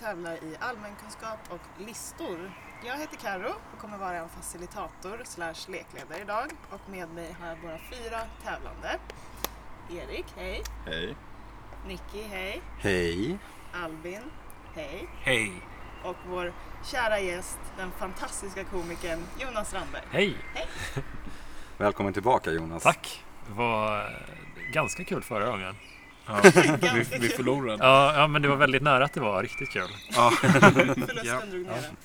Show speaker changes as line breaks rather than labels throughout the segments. tävlar i allmänkunskap och listor. Jag heter Karo och kommer vara en facilitator slash lekledare idag och med mig har jag våra fyra tävlande. Erik, hej.
Hej.
Nicky, hej.
Hej.
Albin, hej.
Hej!
Och vår kära gäst, den fantastiska komikern Jonas Strandberg.
Hej!
Välkommen tillbaka Jonas.
Tack! Det var eh, ganska kul förra gången.
Ja, vi, vi förlorade.
Ja, ja, men det var väldigt nära att det var riktigt kul.
Förlusten drog ner den.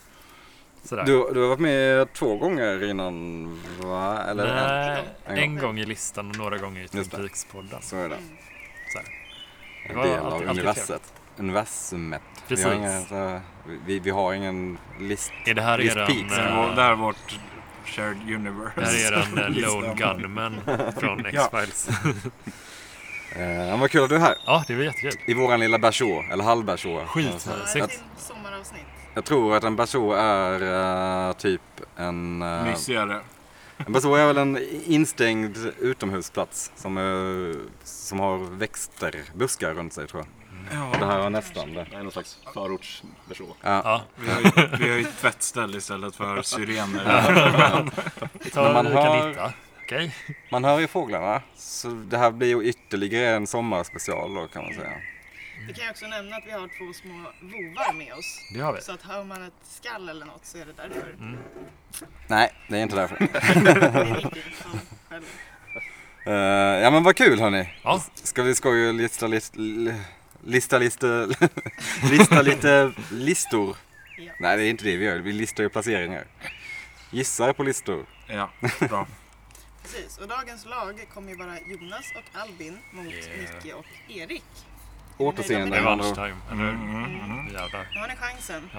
Sådär.
Du, du har varit med två gånger innan va? Eller en?
Nej,
en
en,
gång.
gång i listan och några gånger i Twin
Just det.
Peaks-podden.
Så är det. En
Ja,
del av
alltid- alltid
universet. Universumet. Vi
Precis.
har, ingen, så, vi, vi har ingen list.
Är det här
Twin
eran,
Peaks,
Det
eh,
var- det här är vårt shared universe.
det här är eran eh,
Listan.
Lone Gunman från
Ja.
X-Files?
Eh, vad kul att du är här.
Ja, det var jättekul.
I våran lilla berså, eller halv berså.
Ja,
Skitmysigt.
det är
Jag,
till sommaravsnitt.
jag tror att en berså är eh, typ en... eh,
Mysigare.
en berså är väl en instängd utomhusplats som, eh, som har växter, buskar runt sig tror jag. Det
Ja,
här var nästan det.
Det är någon slags förortsversion.
Ja,
vi har ju, vi har ju ett tvättställe istället för syrener.
ta
man
man kan
hör-
hitta. Okej.
Man hör ju fåglarna. Så det här blir ju ytterligare en sommarspecial då kan man säga.
Vi kan ju också nämna att vi har två små vovar med oss.
Det har vi.
Så att hör man ett skall eller något så är det därför.
Mm. Nej, det är inte därför.
Det är Nicky som själv
Eh, ja men vad kul hörni.
Ja.
Ska vi skoja och lista, list, li- lista, lista, lista lite listor?
Ja.
Nej det är inte det vi gör, vi listar ju placeringar. Gissar på listor.
Ja, bra.
Precis, och dagens lag kommer ju vara Jonas och Albin mot
Yeah.
Micke och Erik.
Återseende
Det
med
var
andra ord.
lunchtime, eller
Mm,
hur?
mm, mm.
Jävlar.
Nu har ni chansen.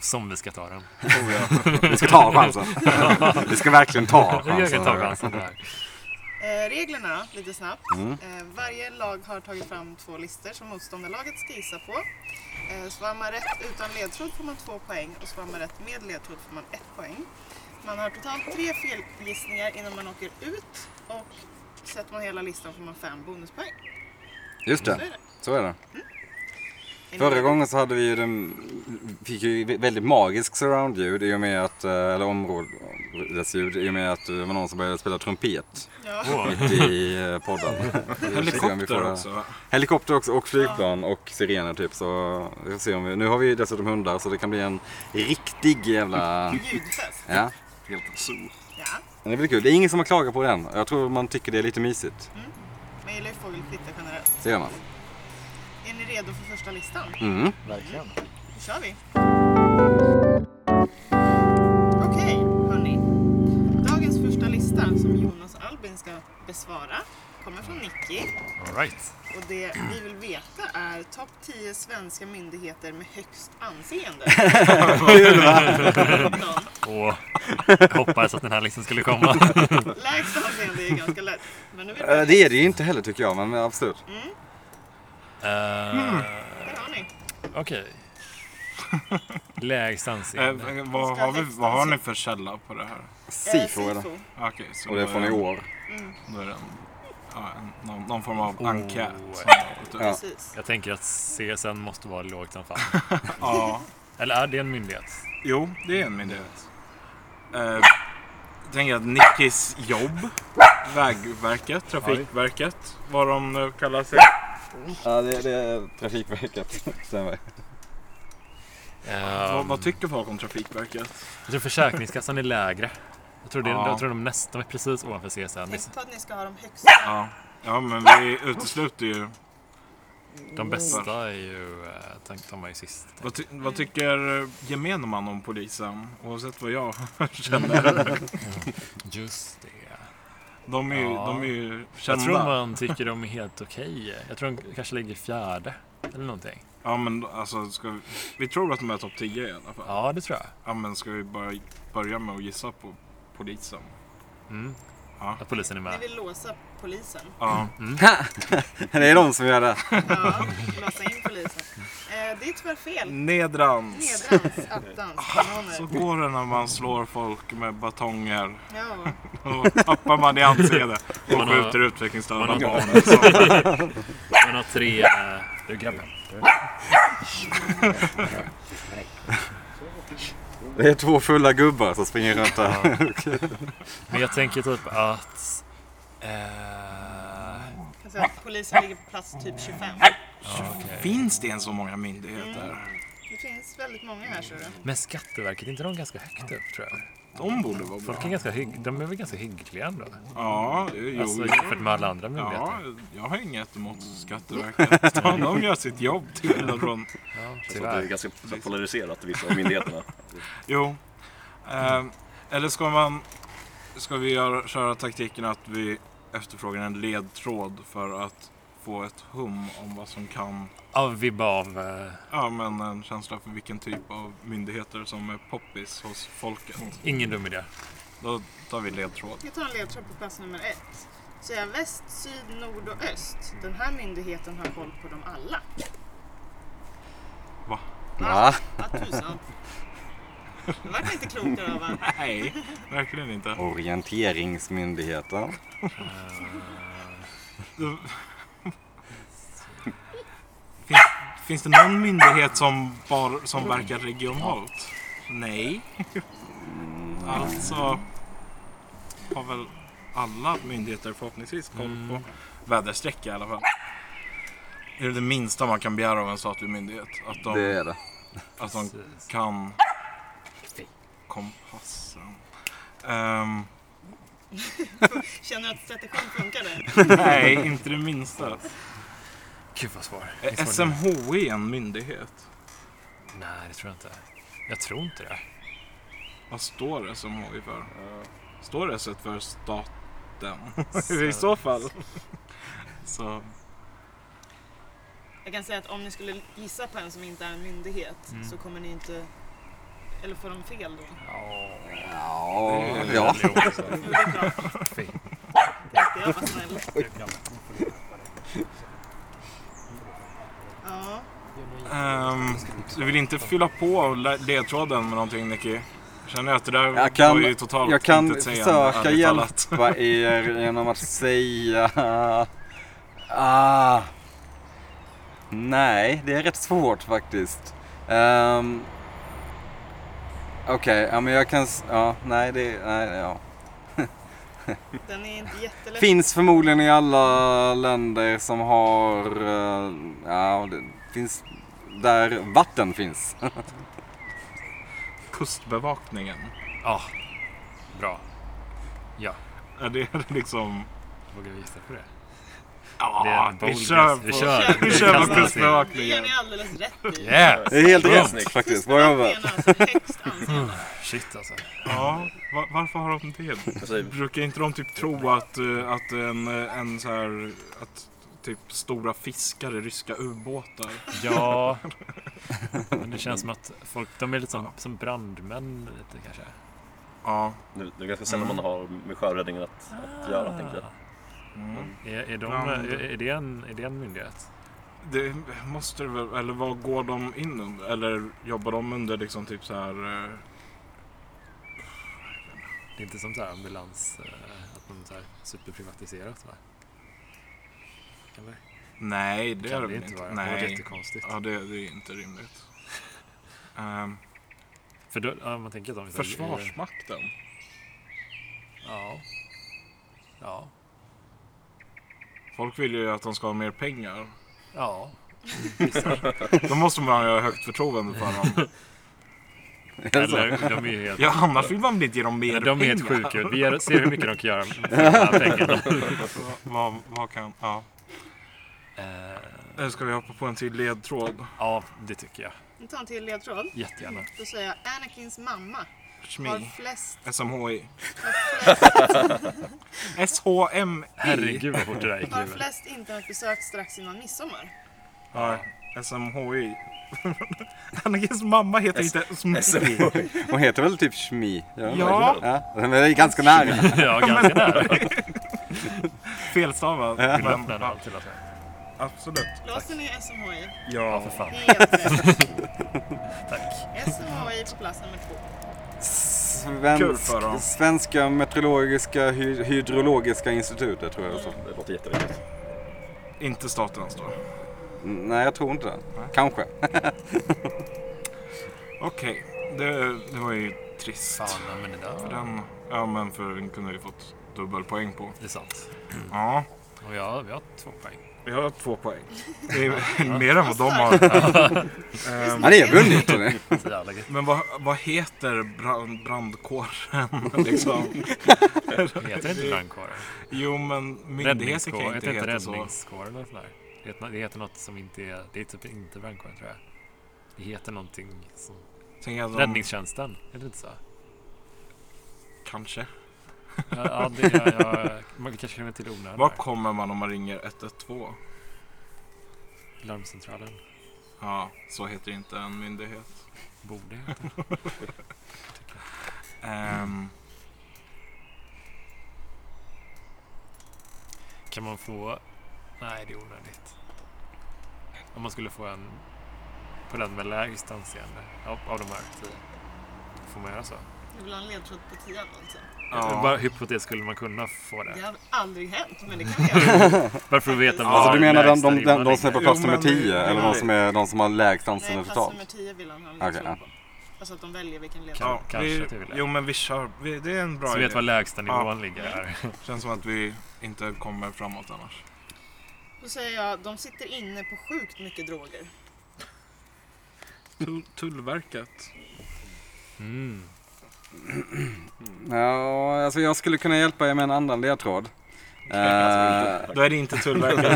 Som vi ska ta den.
Oh, ja.
Vi ska ta chansen. Vi ska verkligen ta
Jag kan ta
chansen.
chansen där.
Eh, reglerna, lite snabbt.
Mm.
Eh, varje lag har tagit fram två listor som motståndarlaget ska gissa på. Eh, svarar man rätt utan ledtråd får man två poäng och svarar man rätt med ledtråd får man ett poäng. Man har totalt tre felgissningar innan man åker ut och sätter man hela listan får man fem bonuspoäng.
Just
Så är
det,
det.
så är det.
Är ni
Förra
med?
gången så hade vi ju den, fick ju väldigt magisk surroundljud i och med att, eh, eller områdesljud i och med att eh, det var någon som började spela trumpet
Ja.
Åh,
mitt i eh, podden. Vi får se om vi får
Helikopter
det.
också.
Helikopter också och flygplan och sirener typ så vi får se om vi, nu har vi ju dessutom hundar så det kan bli en riktig jävla,
Ljudfest.
ja.
Helt zoo.
Ja.
Men Det är väl kul, det är ingen som har klagat på den. Jag tror man tycker det är lite mysigt.
Man gillar ju fågelkvitter generellt.
Det gör man.
Är ni redo för första listan?
Mm.
Verkligen.
Då kör vi! Okej, hörni. Dagens första lista som Jonas och Albin ska besvara kommer från Nicky.
all right.
Och det vi vill veta är topp 10 svenska myndigheter med högst anseende. Någon.
Åh, jag hoppades att den här listan skulle komma.
Lägst anseende är ganska lätt. Men nu vill
Eh,
vi
Det är det ju inte heller tycker jag men absolut.
Eh,
Där har ni.
Okej. Lägst
Eh,
anseende.
vad, har vi, vad har ni för källa på det här?
Eh,
Ah,
Sifo är det.
Okej, så
Och det är från i år.
Då är det en, ja, en, någon, någon form av enkät. som har gått ut.
Precis.
Jag tänker att CSN måste vara lågt som fan.
Ja.
Eller är det en myndighet?
Jo, det är en myndighet. Eh, tänker att Nickis jobb, Vägverket, Trafikverket, vad de nu kallar sig.
Ja det, det är Trafikverket. Stämmer.
Vad,
Um,
vad tycker folk om Trafikverket?
jag tror Försäkringskassan är lägre. Jag tror, det,
Ja.
jag tror de nästan är precis ovanför CSN.
Tänk på att ni ska ha de högsta.
Ja, ja men vi utesluter ju.
De bästa är ju... eh, Tänk, de var ju sist.
Vad, ty, vad tycker eh, gemene man om polisen? Oavsett vad jag känner.
Just det.
De är ju,
Ja.
de är ju
Jag
kända.
tror man tycker de är helt okej. Jag tror de kanske ligger fjärde. Eller någonting.
Ja men alltså, ska vi, vi tror att de är topp 10 i alla fall.
Ja, det tror jag.
Ja men ska vi bara börja med att gissa på polisen?
Mm.
Ja.
Att polisen är
Ni
med.
vill låsa polisen.
Ja,
Det är de som gör det.
Ja, låsa in polisen. Eh, det är tyvärr fel.
Mm.
nedrans.
Nedrans, attans, kanoner.
Så går det när man slår folk med batonger.
Ja,
Då tappar man i anseende och
Man har-
skjuter utvecklingsstörda
man har-
barn. Så,
Man har tre... eh, Du grabben.
Det är två fulla gubbar som springer runt där.
Men jag tänker typ att... Eh,
Kan säga att polisen ligger på plats typ 25.
ja, okej.
Finns det ens så många myndigheter?
Det finns väldigt många här ser du.
Men Skatteverket, är inte de ganska högt upp tror jag?
De borde vara bra.
Folk är ganska hygg... De är väl ganska hyggliga ändå?
Ja, jo.
Alltså jämfört med alla andra myndigheter.
Ja, jag har inget emot Skatteverket. De, de gör sitt jobb till skillnad från...
Ja,
Så det är
tyvärr.
ganska polariserat vissa av myndigheterna.
Jo. Eh, eller ska man... Ska vi göra, köra taktiken att vi efterfrågar en ledtråd för att få ett hum om vad som kan...
Ja, vibba av... Eh,
Ja, men en känsla för vilken typ av myndigheter som är poppis hos folket.
ingen dum idé.
Då tar vi ledtråd.
Jag tar en ledtråd på plats nummer ett. Så jag väst, syd, nord och öst. Den här myndigheten har koll på dem alla.
Va?
Va?
Ja, tusan. Det vart inte klokare av va?
Nej, verkligen inte.
Orienteringsmyndigheten.
Finns, finns det någon myndighet som, bar, som verkar regionalt? Nej. Alltså har väl alla myndigheter förhoppningsvis koll på väderstreck i alla fall. Det är det minsta man kan begära av en statlig myndighet. Att de,
Det är det.
att de kan kompassen. Ehm,
Känner du att strategin funkade?
nej, inte det minsta.
Gud vad svår. Det är
Är
svår
SMHI en myndighet?
nu. Nej, det tror jag inte. Jag tror inte det.
Vad står SMHI för? Står det så för staten? I så fall. Så,
Jag kan säga att om ni skulle gissa på en som inte är en myndighet så kommer ni inte... Eller får de fel då?
Ja, ja.
Jo, det är klart.
Fint.
Tänkte jag vara snäll. Ja,
ehm, du vill inte fylla på le- ledtråden med någonting Nicky? Känner jag att det där
Jag kan,
var ju totalt
jag kan
intetsägande,
försöka
ärligt talat.
hjälpa er genom att säga... Ah, nej, det är rätt svårt faktiskt. Ehm, Okej, ja, men jag kan... s- Ja, nej, det... Nej, ja.
den är inte jättelätt.
Finns förmodligen i alla länder som har... eh, ja, det finns där vatten finns.
Kustbevakningen.
Ja, bra. Ja,
Är det liksom...
vågar vi gissa på det? Det är
Ja,
en
vi
bold
kör
guess.
på,
Vi kör.
vi kör på
Kasta oss in.
Det gör
Kustbevakningen.
ni alldeles rätt i.
Yes!
Det är helt
Bra.
rätt faktiskt. Bra jobbat.
Kustbevakningen har alltså högst anseende.
Shit alltså.
Ja, va- varför har de det? Brukar inte de typ tro att, eh, att en, eh, en så här, att typ stora fiskar är ryska ubåtar?
Ja, men det känns som att folk, de är lite som, som brandmän lite kanske.
Ja.
Nu, det är ganska sällan man har med sjöräddningen att, att göra, tänker jag.
Mm.
Är, är, de,
Brand.
är, är, det en, är det en myndighet?
Det måste det väl, eller vad går de in under? Eller jobbar de under liksom typ så här... eh,
Det är inte som så här ambulans, eh, att de så här superprivatiserat va? Eller?
Nej, det är
kan
det
det,
väl
inte
inte.
vara? Det vore
Nej.
jättekonstigt.
Ja, det, det är inte rimligt. Ehm,
För då, ja, man tänker att de är så här-
försvarsmakten?
Ja. Ja.
Folk vill ju att de ska ha mer pengar.
Ja.
Då måste man ju ha högt förtroende för dem.
Eller de är ju helt...
Ja, annars vill man väl inte ge dem mer
Eller de är
pengar?
helt sjuka ut. Vi ger- ser hur mycket de kan göra för de här pengarna.
Vad, vad kan... Ja.
Eh,
Eller Ska vi hoppa på en till ledtråd?
Ja, det tycker jag.
Vi tar en till ledtråd.
Jättegärna.
Då säger jag Anakins mamma har
SMI.
flest...
SMHI.
Har flest,
SHMI.
Herregud vad fort det där gick
har
nu.
flest internetbesök strax innan midsommar.
Ja, SMHI. Annekes mamma heter inte SMHI.
Hon heter väl typ Schmi?
Ja.
ja. Men det är ganska nära.
Ja, ganska nära.
Felstavad.
Vill öppna
Men,
den
ja,
här till oss.
absolut.
Låser ni SMHI?
Ja,
Ja.
för fan.
Helt rätt. Tack. SMHI på plats nummer två.
Kul
Svensk,
för dem.
Svenska meteorologiska hy- hydrologiska institutet tror jag det står.
Det låter jättevettigt.
alltså. Inte statens då.
Nej, jag tror inte det.
Nej.
Kanske.
Okej, det, det var ju trist.
Fan, men det där
För
var...
den, ja men för den kunde vi fått dubbelpoäng på.
Det är sant.
Ja,
Och jag, vi har två poäng.
vi har två poäng. Det är mer än vad de har. Ehm,
Ja, ni har vunnit. hörni.
Så jävla gött.
men vad, vad heter brand, brandkåren liksom?
Det heter inte brandkåren.
Jo men myndigheter kan
Räddningskåren.
ju
Jag
inte
tror inte
heta så.
räddningskåren eller sådär. Det heter, det heter något som inte är... Det är typ inte brandkåren tror jag. Det heter någonting som...
Tänk att de,
Räddningstjänsten. Är det inte så?
kanske.
Ja, ja, det är, jag, man, vi kanske känner till onödan.
Var
här.
kommer man om man ringer 112?
Larmcentralen.
Ja, så heter inte en myndighet.
Borde heta.
Ehm,
Kan man få... Nej, det är onödigt. Om man skulle få en... På den med lägst anseende av, av de här tio. Får man göra så?
Du vill ha en ledtråd på tian alltså?
ja.
Bara hypotetiskt skulle man kunna få
Det
det.
har aldrig hänt, men det kan vi göra.
Bara för att veta
Ja,
var
Alltså, du menar de,
lägsta
de, de, de
ribban
som är på
ligger.
plats
Jo,
nummer
men-
10? Eller de
Nej.
som, är, de som har lägst anseende
Nej, plats nummer
totalt?
10 vill han ha en
Okej,
ledtråd
ja.
på. Alltså att de väljer vilken ledtråd.
Ja,
Kanske
vi,
att vi vill det.
jo men vi kör. Vi, det är en bra
Så vi vet var lägsta nivån
Ja.
ligger. Här.
Känns som att vi inte kommer framåt annars.
Då säger jag, de sitter inne på sjukt mycket droger.
Tull, tullverket.
Mm.
Ja, alltså jag skulle kunna hjälpa er med en annan ledtråd.
alltså,
Eh,
Då är det inte Tullverket.
Det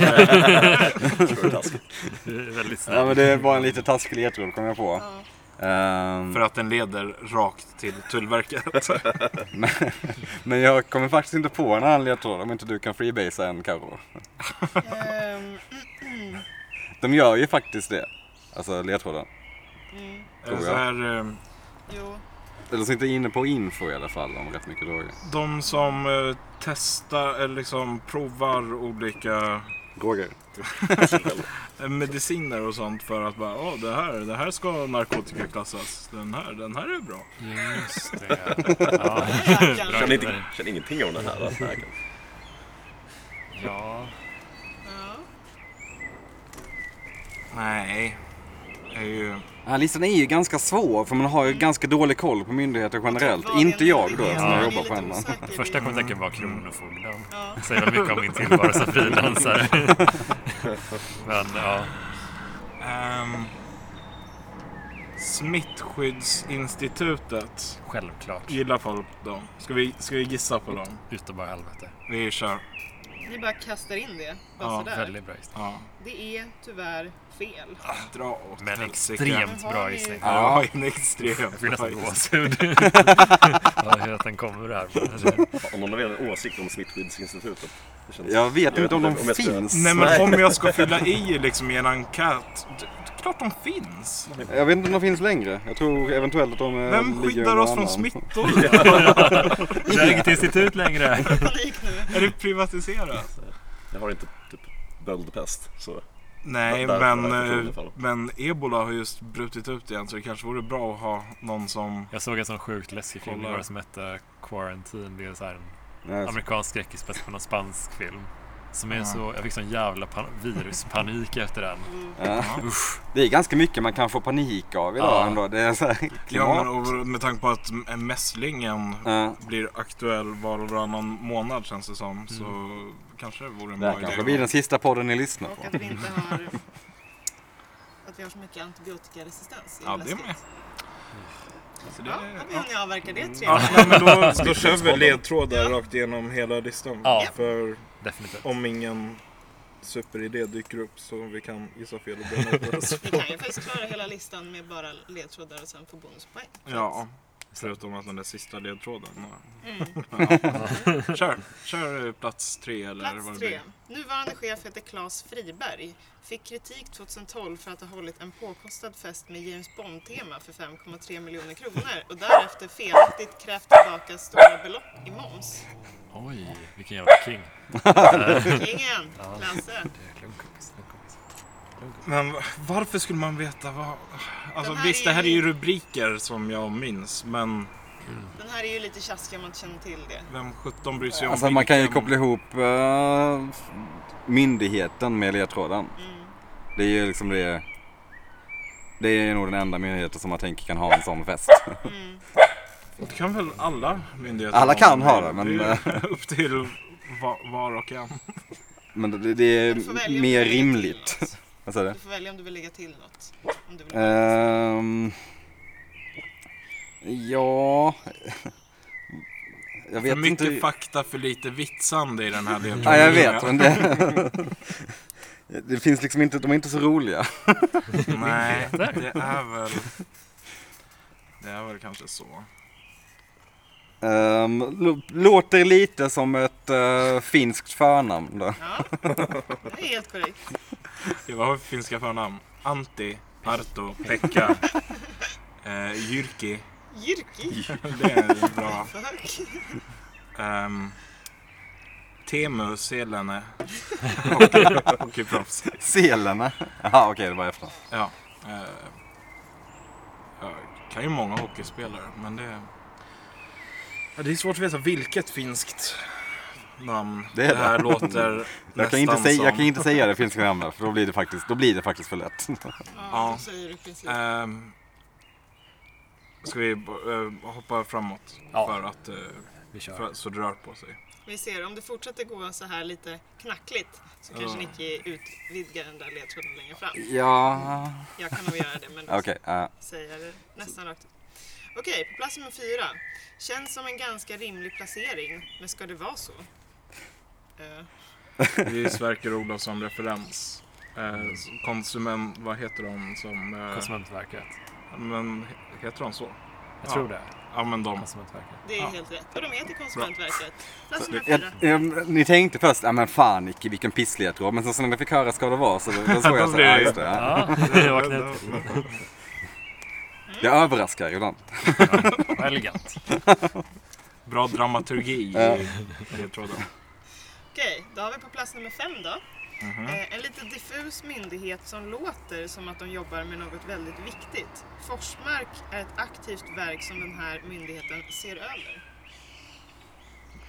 är väldigt
Ja,
snällt.
men det var en lite taskig ledtråd kom jag på.
Ja.
Ehm,
för att den leder rakt till Tullverket.
men jag kommer faktiskt inte på en annan ledtråd om inte du kan freebasea en Karo.
Ehm,
De gör ju faktiskt det. Alltså ledtråden.
mm,
Eller
jag.
så här, eh,
jo.
Eller så inte inne på info i alla fall om rätt mycket droger.
de som eh, testar, eller liksom provar olika
Droger.
eh, mediciner och sånt för att bara, åh det här, det här ska narkotikaklassas. Den här, den här är bra.
Just det. Ja.
Stackarn.
Känner, inte, känner ingenting om den här. alltså.
ja.
Ja.
Nej. Det är ju...
Ja, listan är ju ganska svår för man har ju ganska dålig koll på myndigheter generellt.
Vad
Inte
är
jag då
myndigheten?
eftersom
Jag är
jag jobbar
lite
på hemma.
osäker.
Det första jag kom att tänka var Kronofogden.
Ja.
Säger väl mycket om min tillvaro som frilansare. Men ja.
ehm, smittskyddsinstitutet.
Självklart.
Gillar folk dem? Ska vi, ska vi gissa på dem?
Utav bara helvete.
Vi kör.
Ni bara kastar in det. Bara
Ja,
sådär.
Väldigt bra gissning.
Ja.
Det är tyvärr fel.
Dra åt
Men
helsike.
extremt
Men har
bra
ni-
gissning.
Ja, det var ju en extrem.
Jag fick nästan gåshud. ja, hur att den kommer här.
Om någon har en åsikt om Smittskyddsinstitutet. Det känns-
Jag vet
Jag
inte om de
vet inte om jag ska-
finns.
Nej men om jag ska fylla i liksom i en enkät. Det, det är klart de finns.
Jag vet inte om de finns längre. Jag tror eventuellt att de eh,
Vem
ligger
skyddar
någon
oss från
annan.
smittor?
Det är inget institut längre.
Panik nu.
Är det privatiserat?
Jag har inte typ böldpest. Så.
Nej
Där- där-
men,
där- där-
eh,
där- där- där-
men ebola har just brutit ut igen så det kanske vore bra att ha någon som...
Jag såg en sån sjukt läskig film
Kolla.
igår som hette Quarantine. Det är så här en
Nej, så-
amerikansk skräckis på någon spansk film. Som är
Ja.
så, jag fick sån jävla pan- viruspanik efter den.
Mm.
Ja. Det är ganska mycket man kan få panik av idag
Ja.
ändå. Det är så här
Ja,
klimat.
men, och med tanke på att en mässlingen
Ja.
blir aktuell var och varannan månad känns det som. Så kanske det vore en
Det
bra
här kanske blir
idé.
den sista podden ni lyssnar
Och
på.
att vi inte har... Att vi har så mycket antibiotikaresistens.
Ja, det är
läskigt.
med. Så det,
Ja,
Mm. ja.
har vi hunnit avverka det
Ja,
trevligt.
nej, men då, då kör vi ledtrådar rakt igenom hela listan.
Ja.
För
Definitivt.
om ingen superidé dyker upp så vi kan gissa fel och bränna ut oss.
Vi kan ju faktiskt klara hela listan med bara ledtrådar och sen få bonuspoäng.
Ja, förutom att den där sista ledtråden. ja. Kör, kör eh, plats tre eller vad
Plats
det
tre.
blir.
Nuvarande chef heter Claes Friberg. Fick kritik 2012 för att ha hållit en påkostad fest med James Bond-tema för 5,3 miljoner kronor och därefter felaktigt krävt tillbaka stora belopp i moms.
Oj, vilken jävla king.
Ingen! Lasse!
Lugn kompis, lugn kompis.
Men varför skulle man veta vad... Alltså
Den här
visst,
är
det här är
ju-
ju rubriker som jag minns, men
Den här är ju lite tjaskig om man inte känner till det.
vem sjutton bryr sig om
Alltså man kan ju
vilken- Mm.
koppla ihop eh, myndigheten med ledtråden. Det är ju liksom det. Det är nog den enda myndigheten som man tänker kan ha en sån fest.
Mm.
Det kan väl alla myndigheter
Alla
ha,
kan ha det, men-
det eh, är upp till va- var och en.
Men det, det är
Alltså,
Du får välja om du
mer
vill lägga till
rimligt. Eh.
något.
Vad säger du?
Du får välja om du vill lägga till något. Om du vill
Ehm, ja... Jag vet
För mycket
inte...
fakta, för lite vitsande i den här delen.
Ja, jag vet, men det... det finns liksom inte... De är inte så roliga.
Nej, det är väl... Det är väl kanske så.
Ehm, lå- låter lite som ett eh, finskt förnamn då.
Ja, det är helt korrekt.
Okej, vad har vi för finska förnamn? Antti, Arto, Pekka, eh, Jyrki.
Jyrki.
Det är bra.
Fuck.
Ehm, Teemu, Selene. Hockey- Hockeyproffs.
Selene. Jaha, okej, det var efter.
Ja. Eh, jag kan ju många hockeyspelare, men det... Ja, det är svårt att veta vilket finskt namn
Det är det.
här låter
Jag kan, inte
nästan
säga, jag
som.
kan inte säga det finska namnet, för då blir det faktiskt, då blir det faktiskt för lätt.
Ja,
Ja.
då säger du i princip.
Ehm, ska vi eh, hoppa framåt?
Ja.
För att eh,
Vi
för,
kör.
att- så det rör på sig.
Vi ser, om det fortsätter gå så här lite knackligt så kanske
Ja.
Nicky utvidgar den där ledtråden längre fram.
Ja...
Jag kan nog göra det, men
Okej, eh,
säger det nästan rakt ut. Okej, på plats nummer fyra. Känns som en ganska rimlig placering, men ska det vara så? Eh,
Det är Sverker Olofsson-referens. Eh, s- konsument... Vad heter de som... Eh,
Konsumentverket.
men, he- heter de så?
Jag
Ja.
tror det.
Ja, men de.
Konsumentverket.
det är
Ja.
helt rätt. Och de heter Konsumentverket. Plats nummer
Jag,
fyra.
jag, ni tänkte först, ja men fan Nicky vilken pisslig jag tror. Men så sen när vi fick höra ska det vara så då, då såg jag
Då
så
blev
ja
det-
just det. Ja.
Ja, det var knepigt.
Jag överraskar ibland.
Vad elegant.
Bra dramaturgi
Ja.
i ledtråden.
Okej, då har vi på plats nummer fem då.
Mhm.
Eh, en lite diffus myndighet som låter som att de jobbar med något väldigt viktigt. Forsmark är ett aktivt verk som den här myndigheten ser över.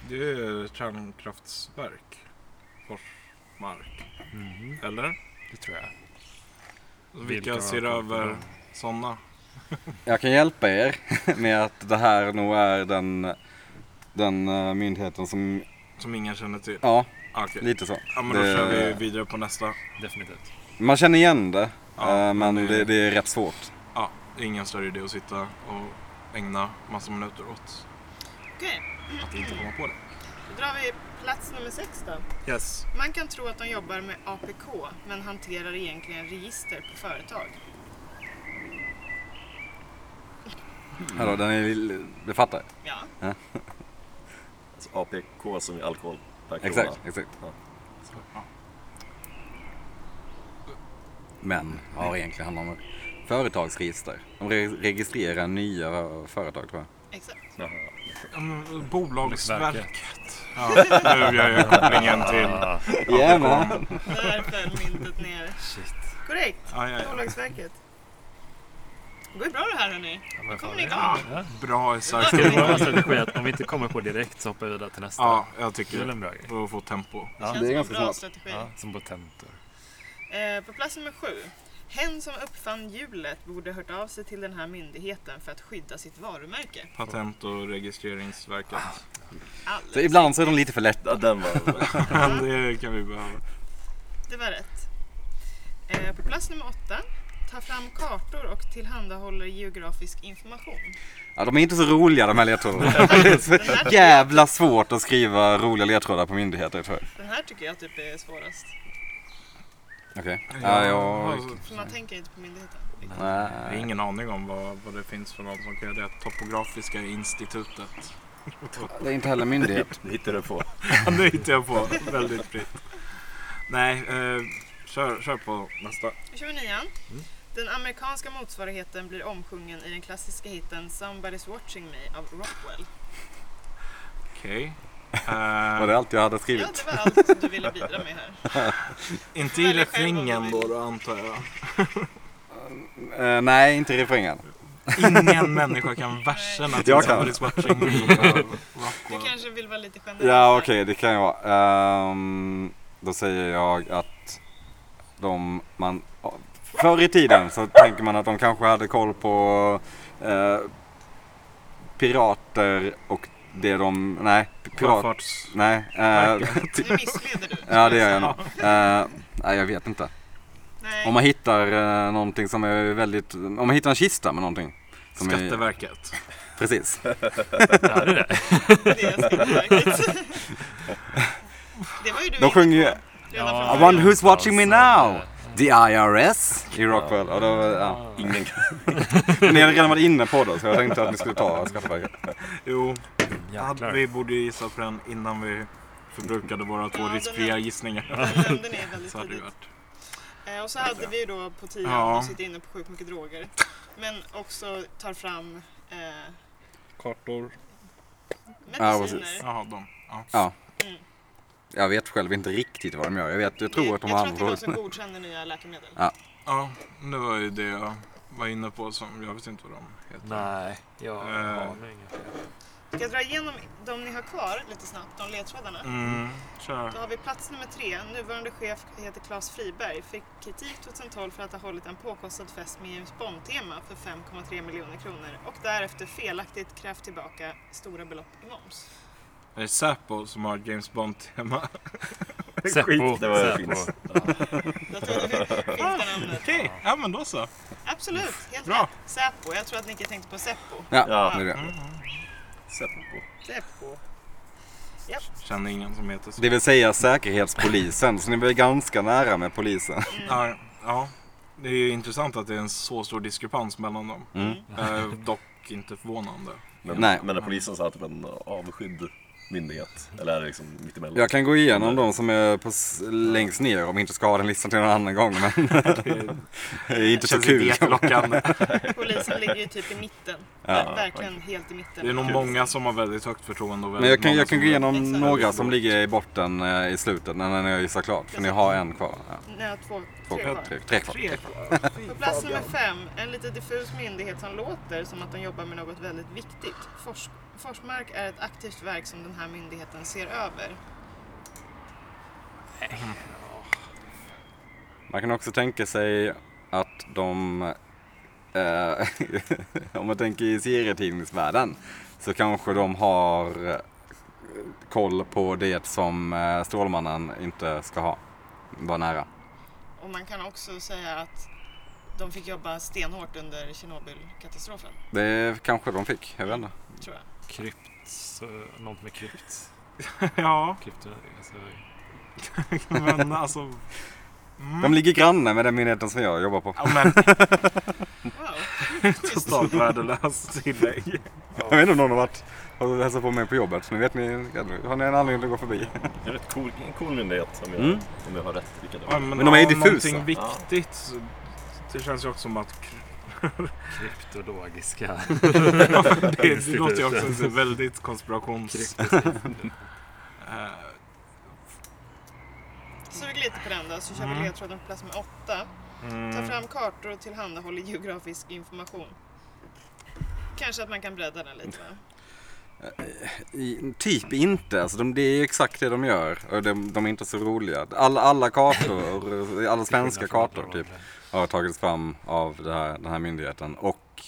Det är kärnkraftsverk. Forsmark. Eller?
Det tror jag.
Vilka ser
har-
över sådana?
Jag kan hjälpa er med att det här nog är den, den eh, myndigheten som,
Som ingen känner till?
ja
Ah, okej.
lite så.
Ja, men då
Det-
kör vi vidare på nästa.
Definitivt.
Man känner igen det,
Ja,
eh, men
men det-
det, det är rätt svårt.
Ja, det är ingen större idé att sitta och ägna massa minuter åt
Okej,
att inte komma på det.
då drar vi plats nummer sex då.
Yes.
Man kan tro att de jobbar med APK, men hanterar egentligen register på företag.
Hallå, den är, li- du fattar?
Ja,
Alltså APK som är alkohol per krona.
Exakt, exakt.
Ja.
Men har egentligen handlar om företagsregister. De re- registrerar nya företag tror jag.
exakt.
Jaha, ja.
Ja, men, eh, bolagsverket. Ja, nu gör jag kopplingen till...
Ah,
Jajamän!
Där föll myntet ner.
shit.
Korrekt,
Ja, ja, ja.
Bolagsverket. Det går ju bra det här hörni.
Ja, men
Kommer
fan,
ni igång?
det- Ja.
Bra
Ska det vara en
Sverker.
strategi att om vi inte kommer på direkt så hoppar vi vidare till nästa?
Ja, jag
Det är väl
tycker
en bra grej?
För att få tempo.
Det känns
det är
som en
ganska
bra
smart.
strategi.
Ja, som potentor.
Eh, På plats nummer sju. Hen som uppfann hjulet borde hört av sig till den här myndigheten för att skydda sitt varumärke.
Patent och registreringsverket.
Så
Alldeles.
ibland så är de lite för lätta.
Ja, den var...
det kan vi behöva.
Det var rätt. Eh, På plats nummer åtta. Ta fram kartor och tillhandahåller geografisk information.
Ja, de är inte så roliga de här ledtrådarna. Det är så jävla svårt att skriva roliga ledtrådar på myndigheter tror jag.
Den här tycker jag typ är svårast.
Okej. Ja, jag...
För man tänker inte på myndigheten.
alltså, Jag har ingen aning om vad, vad det finns för något som kan göra det. Topografiska institutet.
Det är inte heller myndighet.
Det hittade du på.
nu hittar jag på väldigt fritt. Nej, eh, kör, kör på nästa.
Nu kör vi
Mm.
nian. Den amerikanska motsvarigheten blir omsjungen i den klassiska hiten Somebody's watching me av Rockwell.
Okej.
Var
Eh,
det allt jag hade
Ja,
skrivit?
det var allt du ville bidra med här.
inte i refrängen då, då, antar jag.
Eh, nej, inte i refrängen.
Ingen människa kan verserna till
Jag kan.
Somebody's watching me av
Du
Rockwell.
kanske vill vara lite generös.
Ja,
här.
okej, det kan jag vara. Ehm, då säger jag att de, man förr i tiden så tänker man att de kanske hade koll på eh, pirater och det de... Nej, pirat...
Sjöfarts...
Nej. Eh,
Nu missleder du.
ja, det gör jag nog. Eh, nej, jag vet inte.
Nej.
Om man hittar eh, någonting som är väldigt... Om man hittar en kista med någonting. Som är,
Skatteverket.
precis.
Ja, det är det.
Det är Skatteverket. Det var ju du
De sjunger ju
inne på redan
Ja.
från
I wonder
början.
who's watching me
Alltså,
now?
eh,
The IRS i Rockwell. Och då, ja.
Ja.
Ingen
Men ni hade redan varit inne på det så jag tänkte att ni skulle ta Skatteverket.
Jo,
Jäklar.
vi borde gissa på den innan vi förbrukade våra två
Ja, den
riskfria
är-
gissningar.
Den nämnde ni väldigt
Så hade det
tidigt.
varit.
Eh, Och så hade vi ju då på tio
Ja.
ja. suttit inne på sjukt mycket droger. Men också tar fram eh,
Kartor.
Ja,
mediciner.
Jaha, de. Ja.
Jag vet själv inte riktigt vad de gör. Jag, vet, jag tror att de
jag
har
tror att det är de
andra
som godkänner nya läkemedel.
Ja.
ja, det var ju det jag var inne på som jag vet inte vad de heter.
Nej, jag
Eh.
har inget.
Ska jag dra igenom de ni har kvar lite snabbt, de ledtrådarna?
Mm,
Då
kör.
har vi plats nummer tre. Nuvarande chef heter Claes Friberg. Fick kritik 2012 för att ha hållit en påkostad fest med James Bond-tema för 5,3 miljoner kronor och därefter felaktigt krävt tillbaka stora belopp i moms.
Det är Säpo som har James Bond-tema.
Seppo.
det var
Seppo.
fint.
Jag tror att det finns det namnet.
Okej, ja men då så.
Absolut, helt
Bra.
rätt. Säpo. Jag tror att Nicke tänkte på Seppo.
Ja,
Ja.
det är det.
Seppo.
Seppo.
Känner ingen som heter så.
Det vill säga Säkerhetspolisen. Så ni var ju ganska nära med polisen.
Ja, ja. Det är ju intressant att det är en så stor diskrepans mellan dem.
Mm.
Eh, dock inte förvånande.
Men,
Nej.
men när polisen sa att det var en avskydd myndighet. Eller är det liksom mittemellan?
Jag kan gå igenom de som är på, s- längst ner om vi inte ska ha den listan till någon annan gång. Men
Det
det är inte så
känns inte
kul.
jättelockande.
Polisen ligger ju typ i mitten.
Ja.
Verkligen helt i mitten.
Det är nog många som har väldigt högt förtroende. Och väldigt
Men jag kan,
många
jag kan
som-
gå igenom
Exakt.
några som ligger i botten eh, i slutet när när jag gissar klart. För ni har en kvar. Ja,
Nej, två,
två,
tre kvar.
tre, tre kvar.
Tre.
På plats nummer fem, en lite diffus myndighet som låter som att de jobbar med något väldigt viktigt. Fors, Forsmark är ett aktivt verk som den här myndigheten ser över.
Man kan också tänka sig att de, eh, om man tänker i serietidningsvärlden, så kanske de har eh, koll på det som eh, Stålmannen inte ska ha. Var nära.
Och man kan också säga att de fick jobba stenhårt under Tjernobylkatastrofen,
Det kanske de fick, jag vet inte.
tror jag.
Krypt. Så, eh, något med krypt.
Ja,
Krypto, alltså,
men alltså. Mm.
De ligger granne med den myndigheten som jag jobbar på.
Ja, men
Wow! Tyst.
totalt värdelöst tillägg.
Jag vet inte om någon har varit och hälsat på mig på jobbet. Så nu vet ni, har ni en anledning att gå förbi.
Det är rätt cool, en cool myndighet om jag,
Mm.
om jag har rätt. Vilka det
Ja,
var.
men,
de är ju
ja,
diffusa.
Någonting viktigt. så- Det känns ju också som att
kryptologiska.
det, det låter ju också så väldigt konspirations... Eh,
Sug lite på den då, så kör vi
Mm.
ledtråden på plats nummer åtta. Ta
mm,
fram kartor och tillhandahåller geografisk information. Kanske att man kan bredda den lite va?
I, typ inte. Alltså de, det är exakt det de gör. Och de, de är inte så roliga. Alla, alla kartor, alla svenska kartor typ, har tagits fram av det här, den här myndigheten. Och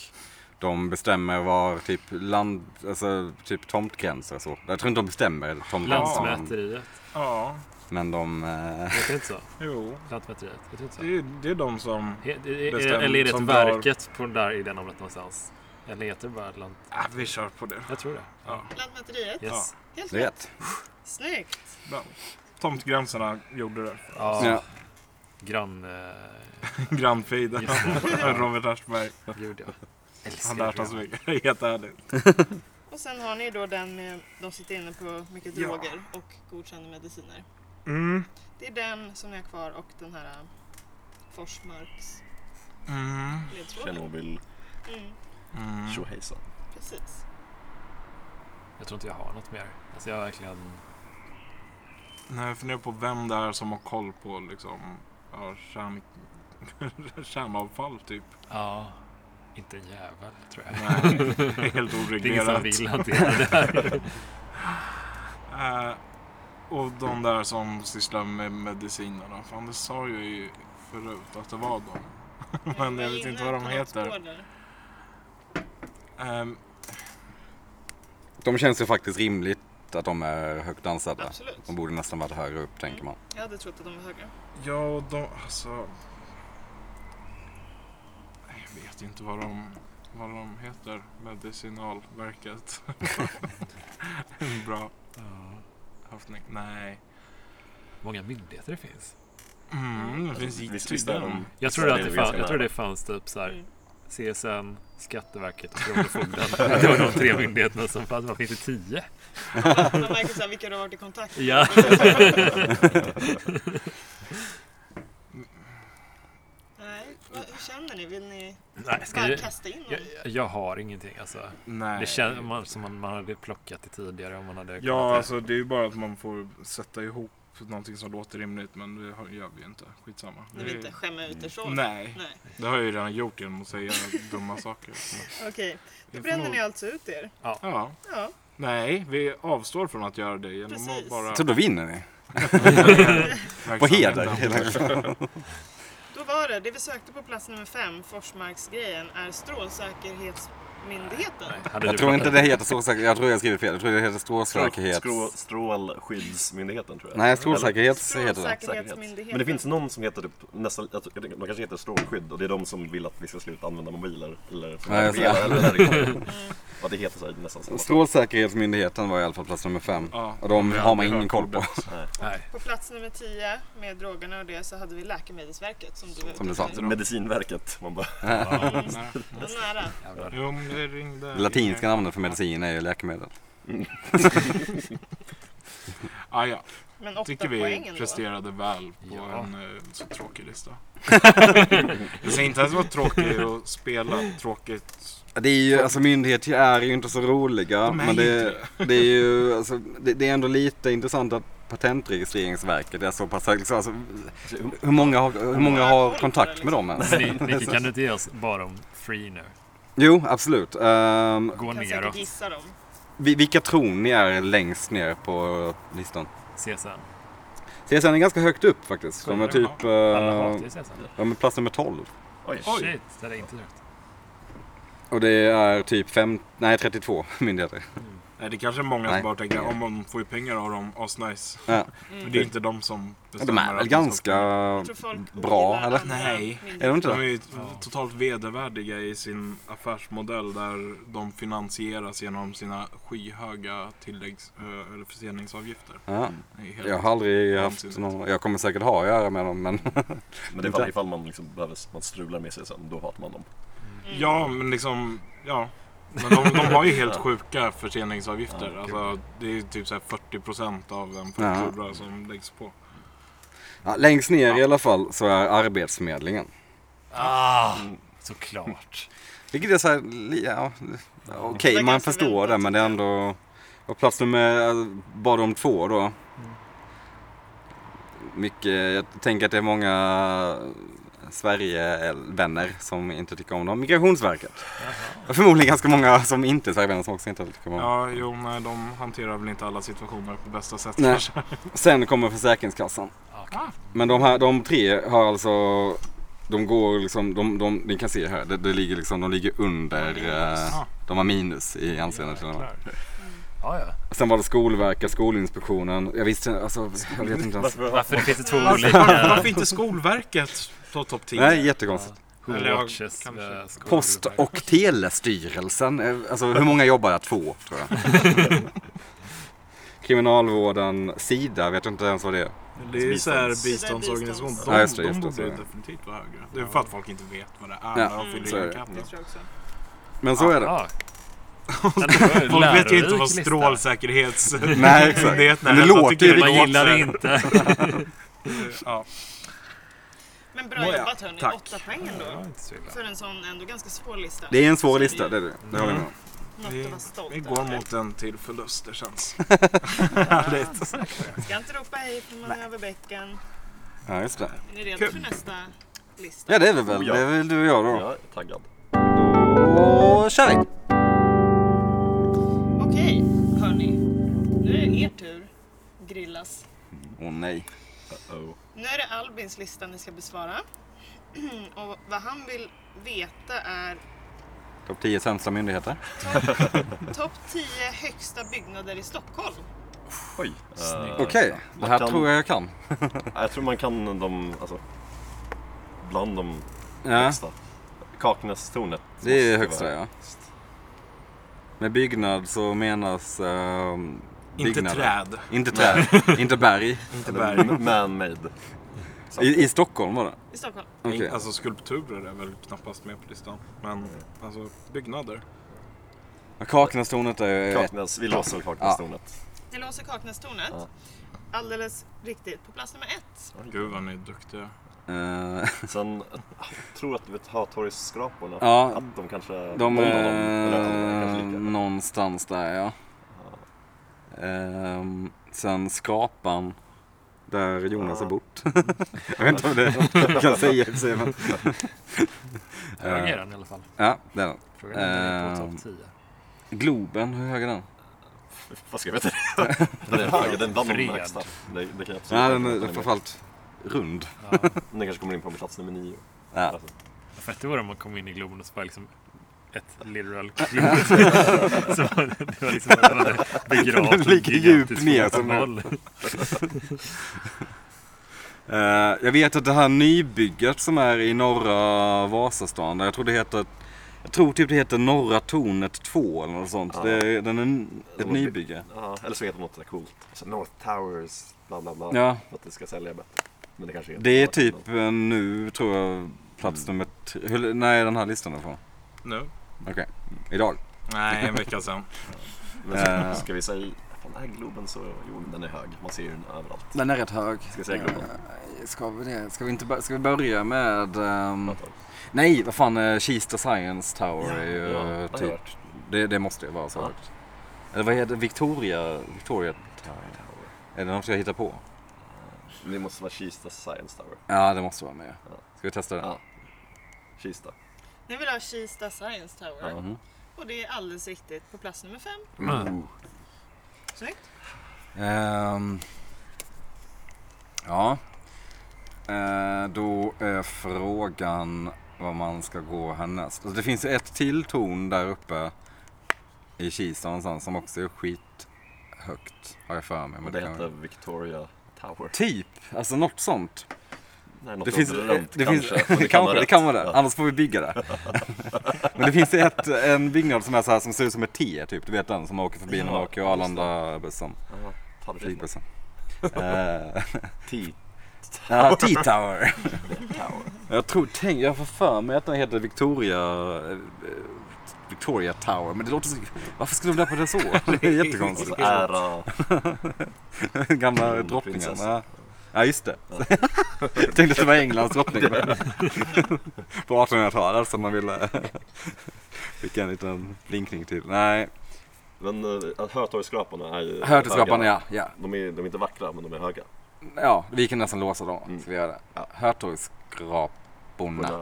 de bestämmer var typ land, alltså typ tomtgränser och så. Jag tror inte de bestämmer tomtgränser. Men,
Lantmäteriet.
ja,
men de... Eh,
Heter det inte så?
jo.
Lantmäteriet. Heter det inte så?
Det är, det är de som...
He- det- är-
Bestämt
Eller är det
som
ett verket på där i det namnet någonstans? Eller heter det bara lant...
Ah, vi kör på det.
Jag tror det.
Ja.
Lantmäteriet,
Yes.
helt rätt.
rätt.
Snyggt!
Bra. Tomtgränserna gjorde det.
Ja.
Ja.
Grann... eh,
Grannfejden.
Just det.
Robert Aschberg.
Gud ja.
Han lärt oss mycket. Helt ärligt.
Och sen har ni då den med de sitter inne på mycket
Ja.
droger och godkända mediciner.
Mm.
Det är den som ni har kvar och den här äh, Forsmarks
Mm.
ledtråden.
Tjernobyl,
Mm,
Mm.
tjohejsan.
precis.
Jag tror inte jag har något mer. Alltså jag har verkligen...
Nej, jag funderar på vem det är som har koll på liksom, ja, kärn... kärnavfall typ.
Ja. Inte en jävel tror jag.
Nej, helt
Det är ingen som
oreglerat.
vill hantera det här.
Eh, och de där som sysslar med medicinerna. Fan, det sa jag ju förut att det var de. Men jag
var
vet inte
inne
vad de
på något
heter.
spår där.
Ehm,
De känns ju faktiskt rimligt att de är högt ansedda.
Absolut.
De borde nästan varit högre upp tänker man.
Jag hade trott att de var högre.
Ja, och de... Alltså... Jag vet inte vad de, vad de heter. Medicinalverket. En Bra
Ja.
höftning. Nej.
Många myndigheter det finns.
Mm, det finns
Visst visst är de...
Jag tror att
det är
det, fanns,
vi ganska
jag tror
nära.
det fanns typ så här
Mm.
CSN, Skatteverket och Kronofogden. Att det var de tre myndigheterna som fanns. Varför inte tio?
Man märker så här vilka du har varit i kontakt med.
Ja.
Nej, vad- hur känner ni? Vill ni
Nej, ska
bara
jag,
kasta in
jag,
någon?
jag har ingenting alltså.
Nej.
Det känns man, som man, man hade plockat det tidigare om man hade
Ja, alltså det är ju bara att man får sätta ihop någonting som låter rimligt. Men det har- gör vi ju inte. Skitsamma.
Ni
Det
vill
är-
inte skämma ut er så?
Nej,
Nej.
det har jag ju redan gjort genom att säga dumma saker. Så
Okej, då
vi får
bränner
nog-
ni alltså ut er.
Ja.
Ja,
Nej, vi avstår från att göra det genom att
Precis.
bara...
Så då vinner ni. På
verksamheten.
heder. hela tiden.
då var det. Det vi sökte på plats nummer fem, Forsmarksgrejen, är Strålsäkerhetsmyndigheten.
Nej, hade
Jag
du
tror
plockat-
inte det heter strålsäkerhet. Jag tror jag skrivit fel. Jag tror det heter strålsäkerhet.
Strå, strålskyddsmyndigheten tror jag.
Nej, strålsäkerhet heter det.
Strålsäkerhetsmyndigheten.
Men det finns någon som heter typ, nästan, jag tror- jag tänker- de kanske heter strålskydd och det är de som vill att vi ska sluta använda mobiler. Eller,
Nej, jag ser.
eller, eller,
Mm.
eller Ja, det heter så här, nästan samma sak.
Strålsäkerhetsmyndigheten var i alla fall plats nummer fem.
Ja.
Och de
Vi
har man
aldrig
ingen
hört
koll på.
Nej.
Nej.
På plats nummer 10 med drogerna och det så hade vi Läkemedelsverket som du var
Som du
ute
sa.
efter.
Så Medicinverket, man bara,
Nej.
Det var nära.
Jävlar.
Jo, men det ringde.
Det latinska namnet för medicin är ju läkemedel.
Ah, ja.
Men åtta
tycker vi
poäng ändå.
presterade väl på
Ja.
en eh, så tråkig lista. jag säger inte att det var tråkigt att spela tråkigt.
Det är ju, alltså myndigheter är ju inte så roliga.
De är
Men
ju
det, det är ju, alltså, det, det är ändå lite intressant att Patentregistreringsverket är så pass högt. Så Alltså, hur många har, hur många har kontakt med dem ens?
Men ni- Nicky, kan du inte ge oss bara om free nu?
Jo, absolut. Ehm,
Gå
Kan säkert
neråt
gissa dem. Mm.
vi- vilka tror ni är längst ner på listan?
CSN.
CSN är ganska högt upp faktiskt. De är typ
Alla
eh,
hatar ju CSN.
de är plats nummer 12.
oj.
Oj.
Shit, det är inte rätt.
Och det är typ fem, nej 32 myndigheter.
Nej, det kanske är många
Nej.
som bara tänker om man får ju pengar av dem, asnice.
Ja.
Men det är inte de som bestämmer.
De är
att
väl
man ska-
ganska...
Jag tror folk
Bra,
ogillar
eller?
andra
Nej.
mindre.
Är de inte
De är
det?
ju totalt vedervärdiga i sin affärsmodell där de finansieras genom sina skyhöga tilläggs eh, eller förseningsavgifter.
Ja.
Det är helt-
Jag har aldrig haft någon, jag kommer säkert ha att göra med dem men
Men det är ifall, ifall man liksom behöver, man strular med sig sen, då hatar man dem.
Ja, men liksom, ja. Men de, de har ju helt sjuka förseningsavgifter.
Ja,
alltså, det är ju typ så här 40% av en faktura som läggs på.
ja, längst ner i alla fall så är Arbetsförmedlingen.
Ah, såklart.
Vilket är såhär, ja, okej
Det var
man
ganska
förstår det
väntat,
men det är ändå, och plats nummer, eh, bara de två då. Mycket, jag tänker att det är många eh, Sverigevänner som inte tycker om dem. Migrationsverket. Och förmodligen ganska många som inte är Sverigevänner som också inte tycker om dem.
Ja, jo, nej, de hanterar väl inte alla situationer på bästa sätt
Nej.
kanske.
Sen kommer Försäkringskassan.
Okej.
Men de, här, de tre har alltså, de går liksom, de, de, ni kan se här, det, det ligger liksom, de ligger under, eh,
Ah.
de har minus i anseende till och med.
Jäklar. Ja, ja.
Sen var det Skolverket, Skolinspektionen, jag visste alltså, jag vet inte ens.
Varför?
Varför det finns det två
Varför,
olika?
varför inte Skolverket på topp 10?
Nej, jättekonstigt.
Who
Eller jag
watches eh,
kanske-
the school?
Post och telestyrelsen, eh, alltså hur många jobbar där? Två, tror jag. Kriminalvården, Sida, vet jag inte ens vad det är.
Det är ju så här
Bistånds-
biståndsorganisation. De,
Ja, just det,
de
just det,
borde
så är
ju
det.
definitivt vara högre. Det är för att folk inte vet vad det är
Ja,
när de
så
fyller
är
i
det.
enkäten.
Det tror jag också.
Men så är det.
Ja. Men det var en
Folk vet ju inte
lärorik
vad
lista.
strålsäkerhets...
Nej, exakt.
Det är ett
Men
när
det
alla
låter
tycker
ju
det
Man
låter.
gillar det inte.
Ja.
Men bra
Nåja,
jobbat hörni.
tack.
Åtta poäng
Det var
ändå.
inte så illa.
För en sån ändå ganska svår lista.
Det är en svår lista, det är det. Det håller jag med om.
Något att vara stolt
Vi går mot en till förlust, det känns.
över. Ska inte ropa hej för man är över bäcken.
Ja, just det.
Är ni redo för nästa lista?
Ja, det är vi väl.
Oh, Ja.
Det är väl du och jag då.
Jag är taggad.
Då kör vi!
Okej, hörni. Nu är det er tur. Grillas.
Åh nej.
Oh.
Nu är det Albins lista ni ska besvara. Och vad han vill veta är
Topp 10 sämsta myndigheter.
topp 10 högsta byggnader i Stockholm.
Oj.
Snyggt.
eh,
Okej, det
man
här
kan-
tror jag jag kan.
Jag tror man kan de, alltså, bland de
Ja,
högsta. Kaknästornet.
det är ju
måste
högsta
vara-
ja. Med byggnad så menas ehm,
Inte
byggnader.
träd.
Inte träd. inte berg.
Inte
Eller
berg.
man-made.
I, I Stockholm var det?
I Stockholm.
Okej.
Alltså skulpturer är väl knappast med på listan. Men alltså byggnader.
Ja, Kaknästornet är ju ett.
Kaknäs, vi låser Kaknästornet.
Det låser Kaknästornet.
Ja.
Alldeles riktigt. På plats nummer ett.
Gud vad ni är duktiga.
Eh,
Sen, ah, jag tror att du vet Hötorgsskraporna?
Ja.
Att de kanske,
De eh,
någon av dem,
är ehm,
eller alla, kanske lika.
någonstans där ja. Ehm, sen Skrapan. Där Jonas
Ja.
har bott. jag vet inte om det är något jag kan säga i och för sig, men- Eh,
Hög är den i alla fall.
Ja, det är den.
Frågan är om den är på
Ehm.
topp 10.
Globen, hur hög är den?
Vad ska jag veta? den är hög, den är bland de
Fred.
högsta. Det, det kan jag absolut
Ja, den
inte
är
veta.
framförallt rund.
Ja.
Den kanske kommer in på plats nummer nio.
Ja.
Alltså,
Fett det vore om man kom in i Globen och så var liksom ett literal klot. så var det, det var liksom att man hade
Den
begravt en
ligger djupt
gigantisk
ner som
fotboll.
Eh, jag vet att det här nybygget som är i norra Vasastan, där jag tror det heter jag tror typ det heter Norra Tornet 2 eller något sånt.
Ja. typ-
Det är, den är n- ett
De har
nybygge.
ja, eller så heter det något där coolt. Alltså, North Towers, bla bla bla.
Ja,
För att det ska sälja bättre. Men det kanske
det är typ eh, nu tror jag plats
Mm.
nummer tre. Hur, när är den här listan ifrån?
Nu?
Okej, idag.
Nej, en vecka sedan.
Men ska,
Eh.
ska vi säga, fan är Globen så, jo den är hög. Man ser ju den överallt.
Den är rätt hög. Eh,
Ska jag säga Globen?
Ska vi det? Ska vi, inte bör- ska vi börja med... ehm,
Pratar.
nej, vad fan, eh, Kista Science Tower är ju
Ja,
eh,
det har jag
typ
hört.
Det, det måste ju vara så
Ja.
högt. Eller vad heter det? Victoria? Victoria Tower? Är det något jag hittar på?
Det måste vara Kista Science Tower.
Ja, det måste vara med.
Ja.
Ska vi testa det?
Ja. Kista.
Nu vill jag ha Kista Science Tower.
Ja.
Mhm.
Och det är alldeles riktigt. På plats nummer fem.
Mm.
Snyggt.
Ehm, ja. Eh, då är frågan var man ska gå härnäst. Alltså, det finns ju ett till torn där uppe i Kista någonstans som också är skithögt. Har jag för mig.
Och
Men
det
kan-
heter Victoria Tower.
Typ, alltså något sånt.
Nej, något
Det finns,
åt runt,
det finns,
kanske.
kanske,
Men
det
kan vara
kan,
rätt.
vara det.
Ja.
Annars får vi bygga det. Men det finns ett, en byggnad som är så här som ser ut som ett T typ. Du vet den som åker förbi när man
Ja,
åker
just det.
Arlanda-bussen.
Ja, hade fel.
Flygbussen. Eh,
T.
Ja, T-Tower. jag tror, tänk, jag får för mig att den heter Victoria... eh, Victoria Tower. Men det låter så... Varför skulle de döpa det så? Det är jättekonstigt.
Alltså ära.
Gamla
Mm,
drottningen.
prinsessa.
Ja. ja, just det. Tänkte att det var Englands drottning. På 1800-talet som man ville skicka en liten blinkning till. Nej,
Men uh, Hötorgsskraporna är ju
Hörtelskaparna
höga.
ja. ja.
De är, de är inte vackra men de är höga.
Ja, vi kan nästan låsa dem.
Mm.
Ska vi göra det?
Ja.
Hörtorgsskraporna.
Kolla.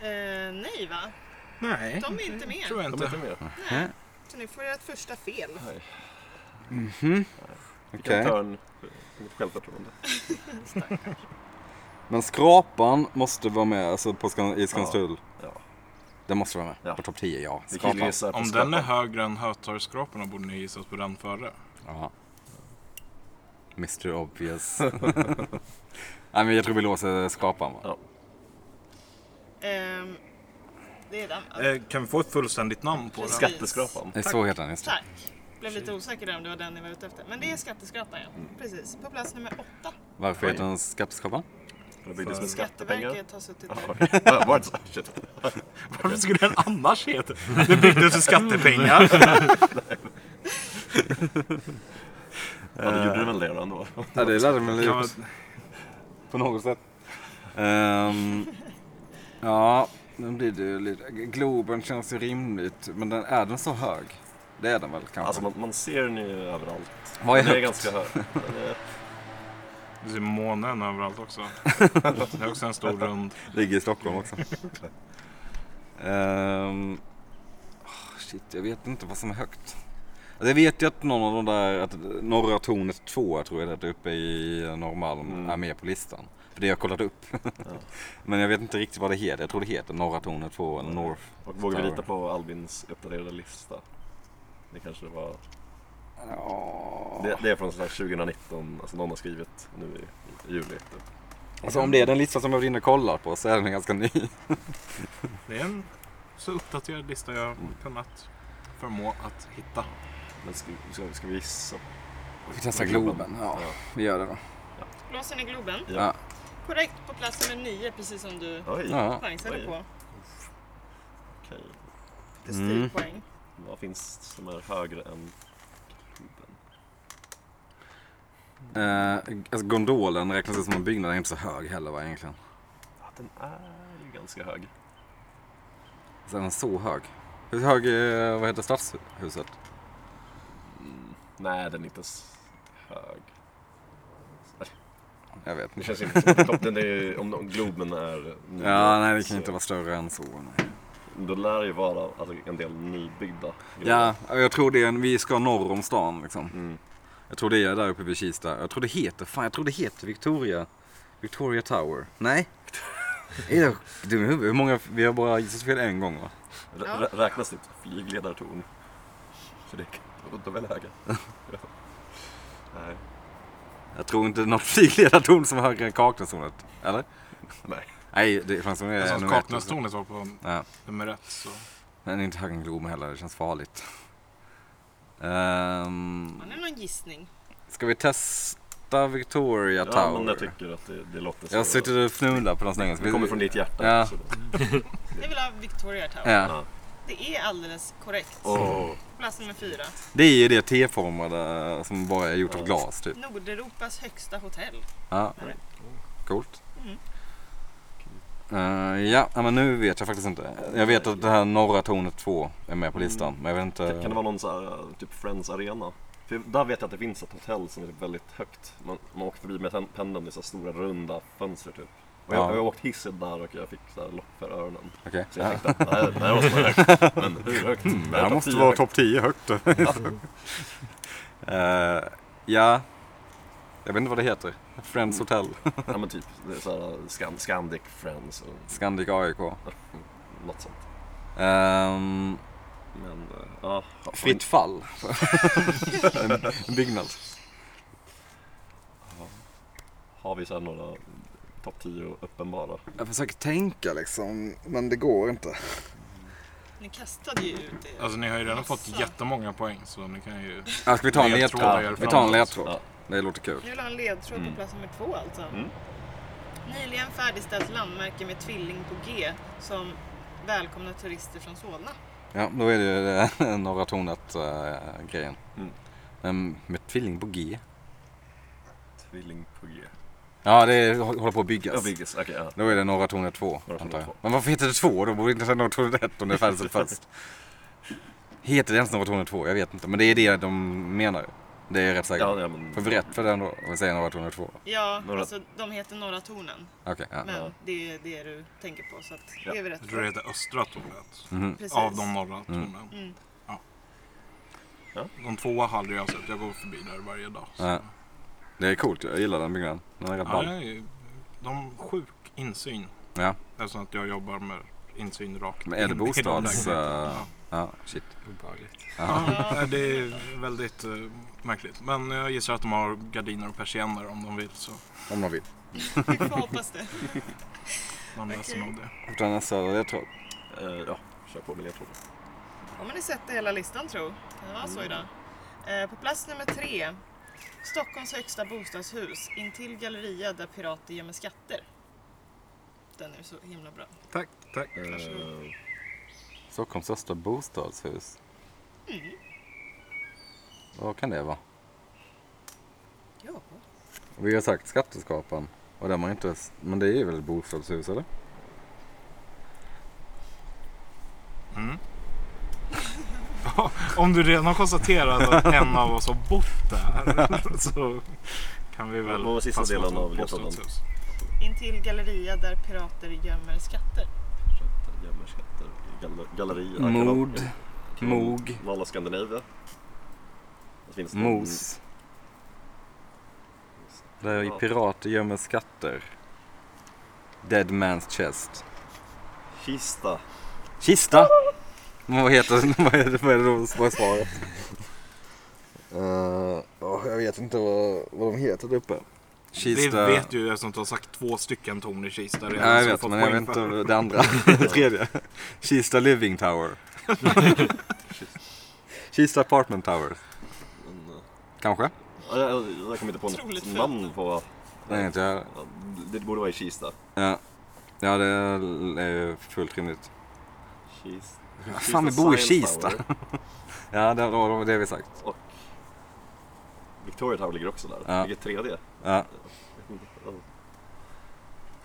Eh, nej va?
Nej,
De är inte med.
tror jag
De är inte
inte.
med.
Nej. Så ni får ert första fel.
Vilken
Okej.
törn. Mitt självförtroende.
Men skrapan måste vara med alltså på Skan- i Skanstull.
Ja.
Den måste vara med.
Ja.
På topp 10, ja.
Vi kan ju
Skrapan.
gissa på
Om den är högre än Hötorgsskraporna borde ni gissat på den före.
Ja. Mr Obvious. Nej, men jag tror vi låser skrapan va?
Ja.
Ehm, det är den. va?
Eh, Kan vi få ett fullständigt namn på den?
Skatteskrapan.
Det är så heter den, just det.
Tack. Blev lite osäker där om det var den ni var ute efter. Men det är skatteskrapan ja.
Mm.
Precis. På plats nummer åtta.
Varför heter den Skatteskrapan?
Det byggdes med skattepengar.
Skatteverket har suttit där.
Ja, Var det så? Shit.
Varför skulle den annars heta? Det byggdes för skattepengar.
Ja, det gjorde väl det då ändå.
Ja, det lärde man
Kan man-
på något sätt. Ehm, ja, nu blir det ju lite... Globen känns ju rimligt, men den, är den så hög? Det är den väl kanske?
Alltså man, man ser den ju överallt.
Vad är
Den är
högt?
ganska hög. Den är-
Du ser månen överallt också. Det är också en stor rund.
Ligger i Stockholm också. Ehm, ah, shit, jag vet inte vad som är högt. Alltså, jag vet ju att någon av de där, att Norra Tornet 2 tror jag det heter uppe i Norrmalm
Mm.
är med på listan. För det har jag kollat upp.
Ja.
Men jag vet inte riktigt vad det heter. Jag tror det heter Norra tornet 2 eller North.
Och vågar vi
Tower.
lita på Albins uppdaterade lista? Det kanske var... Det, det är från sådär 2019, alltså någon har skrivit nu i, i juli. Typ.
Alltså om det är den lista som jag var inne och kollar på så är den ganska ny.
Det är en så uppdaterad lista jag kunnat förmå att hitta.
Eh,
Men ska, ska, ska vi gissa?
Vi testar Globen. Ja, vi gör det då.
Blåser ni Globen?
Ja.
Ja.
Korrekt på plats nummer nio, precis som du
Oj,
ja.
chansade
Oj.
på.
okej.
Det är
Mm.
stilpoäng.
Vad finns som är högre än kuben?
Eh, alltså gondolen räknas ju som en byggnad. Den är inte så hög heller va egentligen.
Ja, den är ju ganska hög.
Så är den så hög. Hur hög är, vad heter stadshuset?
Nej, den är inte s- hög.
Jag vet
Det
inte.
känns ju inte som topp. Den är ju, om, om Globen är ny,
Ja, nej det kan
så-
ju inte vara större än så. Nej.
Då lär det ju vara alltså, en del nybyggda.
Ja, jag tror det är en, vi ska norr om stan liksom.
Mm.
Jag tror det är där uppe vid Kista. Jag tror det heter, fan jag tror det heter Victoria. Victoria Tower. Nej. Är jag dum i huvudet? Hur många, vi har bara gissat fel en gång va?
Rä-
Ja.
rä- Räknas det ett flygledartorn? För det kan de är väl höga. Ja. Nej,
Jag tror inte något flygledartorn som är högre än Kaknästornet. Eller?
nej.
Nej, det fanns som är
Alltså,
ännu mer-
Kaknästornet var på
Ja,
nummer ett. Så.
men inte högre än Globen heller, det känns farligt. Um,
Har ni någon gissning?
ska vi testa Victoria
Ja, men jag
Tower?
tycker att det, det låter så.
Jag sitter och fnular på den så länge.
Det kommer från ditt hjärta.
Ja.
så det-
Ni vill ha Victoria Tower?
Ja.
Det är alldeles korrekt.
Åh,
Plats nummer fyra.
Det är ju det T-formade som bara är gjort av glas typ.
Nordeuropas högsta hotell.
Ja. Coolt. Eh, ja, ja, men nu vet jag faktiskt inte. Jag vet att det här Norra tornet 2 är med på listan. Men jag vet inte.
kan, kan det vara någon så här, typ Friends Arena? För där vet jag att det finns ett hotell som är typ väldigt högt. Man, man åker förbi med pen- pendeln i så här stora runda fönster typ. Och jag,
Ja.
jag har åkt hissen där och jag fick så här lock för öronen.
Okej.
Så jag tänkte att det här det här måste vara högt. Men hur högt?
Mm, Det här måste vara topp 10 högt. Eh, ja. Jag vet inte vad det heter. Friends Hotel.
Ja men typ, det är så här, Scan- Scandic Friends och
Scandic AIK.
något sånt.
Ehm,
Men eh, ja, har-
fritt fall. en byggnad.
har vi så här några topp 10 uppenbara?
Jag försöker tänka liksom, men det går inte.
Ni kastade ju ut det.
Alltså, ni har ju redan fått
Massa.
jättemånga poäng så ni kan ju...
Ja, ska vi ta en
Ledtrådar
ledtråd? Vi tar en
framåt.
ledtråd.
Ja.
Det låter kul.
Ni vill ha en ledtråd på plats nummer två alltså.
Mm.
Nyligen färdigställt landmärke med tvilling på G som välkomnar turister från Solna.
Ja, då är det ju det Norra tornet-grejen.
Mm.
Men Ehm, med tvilling på G.
Tvilling på G.
Ja, det är, hå- håller på att
Ja,
byggas.
Vigges, okej. ja.
Då är det Norra tornet 2,
Norra
antar jag.
tornet 2.
Men varför heter det 2? Då borde inte säga Norra tornet 1 om det är färdigt först. Heter det ens Norra tornet 2? Jag vet inte. Men det är det de menar. Det är jag rätt säkert.
Ja, ja, men-
För vi rätt för den då, om vi säger Norra tornet 2.
Ja,
Norra-
alltså de heter Norra Tornen.
Okej, ja.
Men
Ja.
det är det du tänker på. Så att
Ja.
det är vi rätt
Jag tror det heter Östra tornet.
Mhm.
Precis.
Av de norra tornen.
Mm.
Ja.
Ja.
De tvåa har aldrig jag sett. Jag går förbi där varje dag. så-
Ja. Det är coolt. Jag gillar den byggnaden. Den är rätt
Ja, det
ball.
är ju, de har sjuk insyn.
Ja.
Eftersom att jag jobbar med insyn rakt
Men är det
in i de
bostads...
lägenheterna.
eh, Ja, shit.
Obehagligt.
Ja, nej, det är väldigt eh, märkligt. Men jag gissar att de har gardiner och persienner om de vill. Så
Om man vill.
Vi får hoppas det.
man läser
Okej.
nog det.
Utan nästa ledtråd.
Eh, Ja, kör på med ledtrådar.
Har man ni sett hela listan tro? Kan det vara så idag?
Mm.
Eh, på plats nummer tre. Stockholms högsta bostadshus intill galleria där pirater gömmer skatter. Den är så himla bra.
Tack, tack.
Eh,
Stockholms största bostadshus. Vad kan det vara?
Ja.
Vi har sagt skatteskapan. Och där man inte, men det är väl ett bostadshus eller?
Mm. om du redan har konstaterat att en av oss har bott där så kan vi väl
Vad var sista
passa på
delen
att
av ledtråden?
bostadshus.
Intill galleria där pirater gömmer skatter.
Köpte gömmer skatter i galler- galleri. arkadan.
Mod.
Kung-
Mog.
Norra Skandinavien. Det finns någon-
Mos. Där pirater gömmer skatter. Dead Man's Chest.
Kista.
Kista! Men Vad heter vad är det, vad är det då som är svaret?
jag vet inte vad, vad de heter där uppe.
Kista...
Det vet ju jag som har sagt två stycken torn i Kista redan.
Ja, jag
så
vet,
fått
men jag
poäng
vet
för.
inte det andra. det tredje. Kista Living Tower. Kista Apartment Tower.
Men, eh,
Kanske?
ja, jag, jag kommer inte på
Otroligt
något
fint.
namn på vad.
Nej, inte jag.
Ja, Det borde vara i Kista.
Ja. ja, det är ju fullt rimligt.
Kista.
fan, vi bor i
Science
Kista.
Tower.
Ja, det var det vi sagt.
Och Victoria Tower ligger också där.
Ja.
Vilket tredje.
Ja.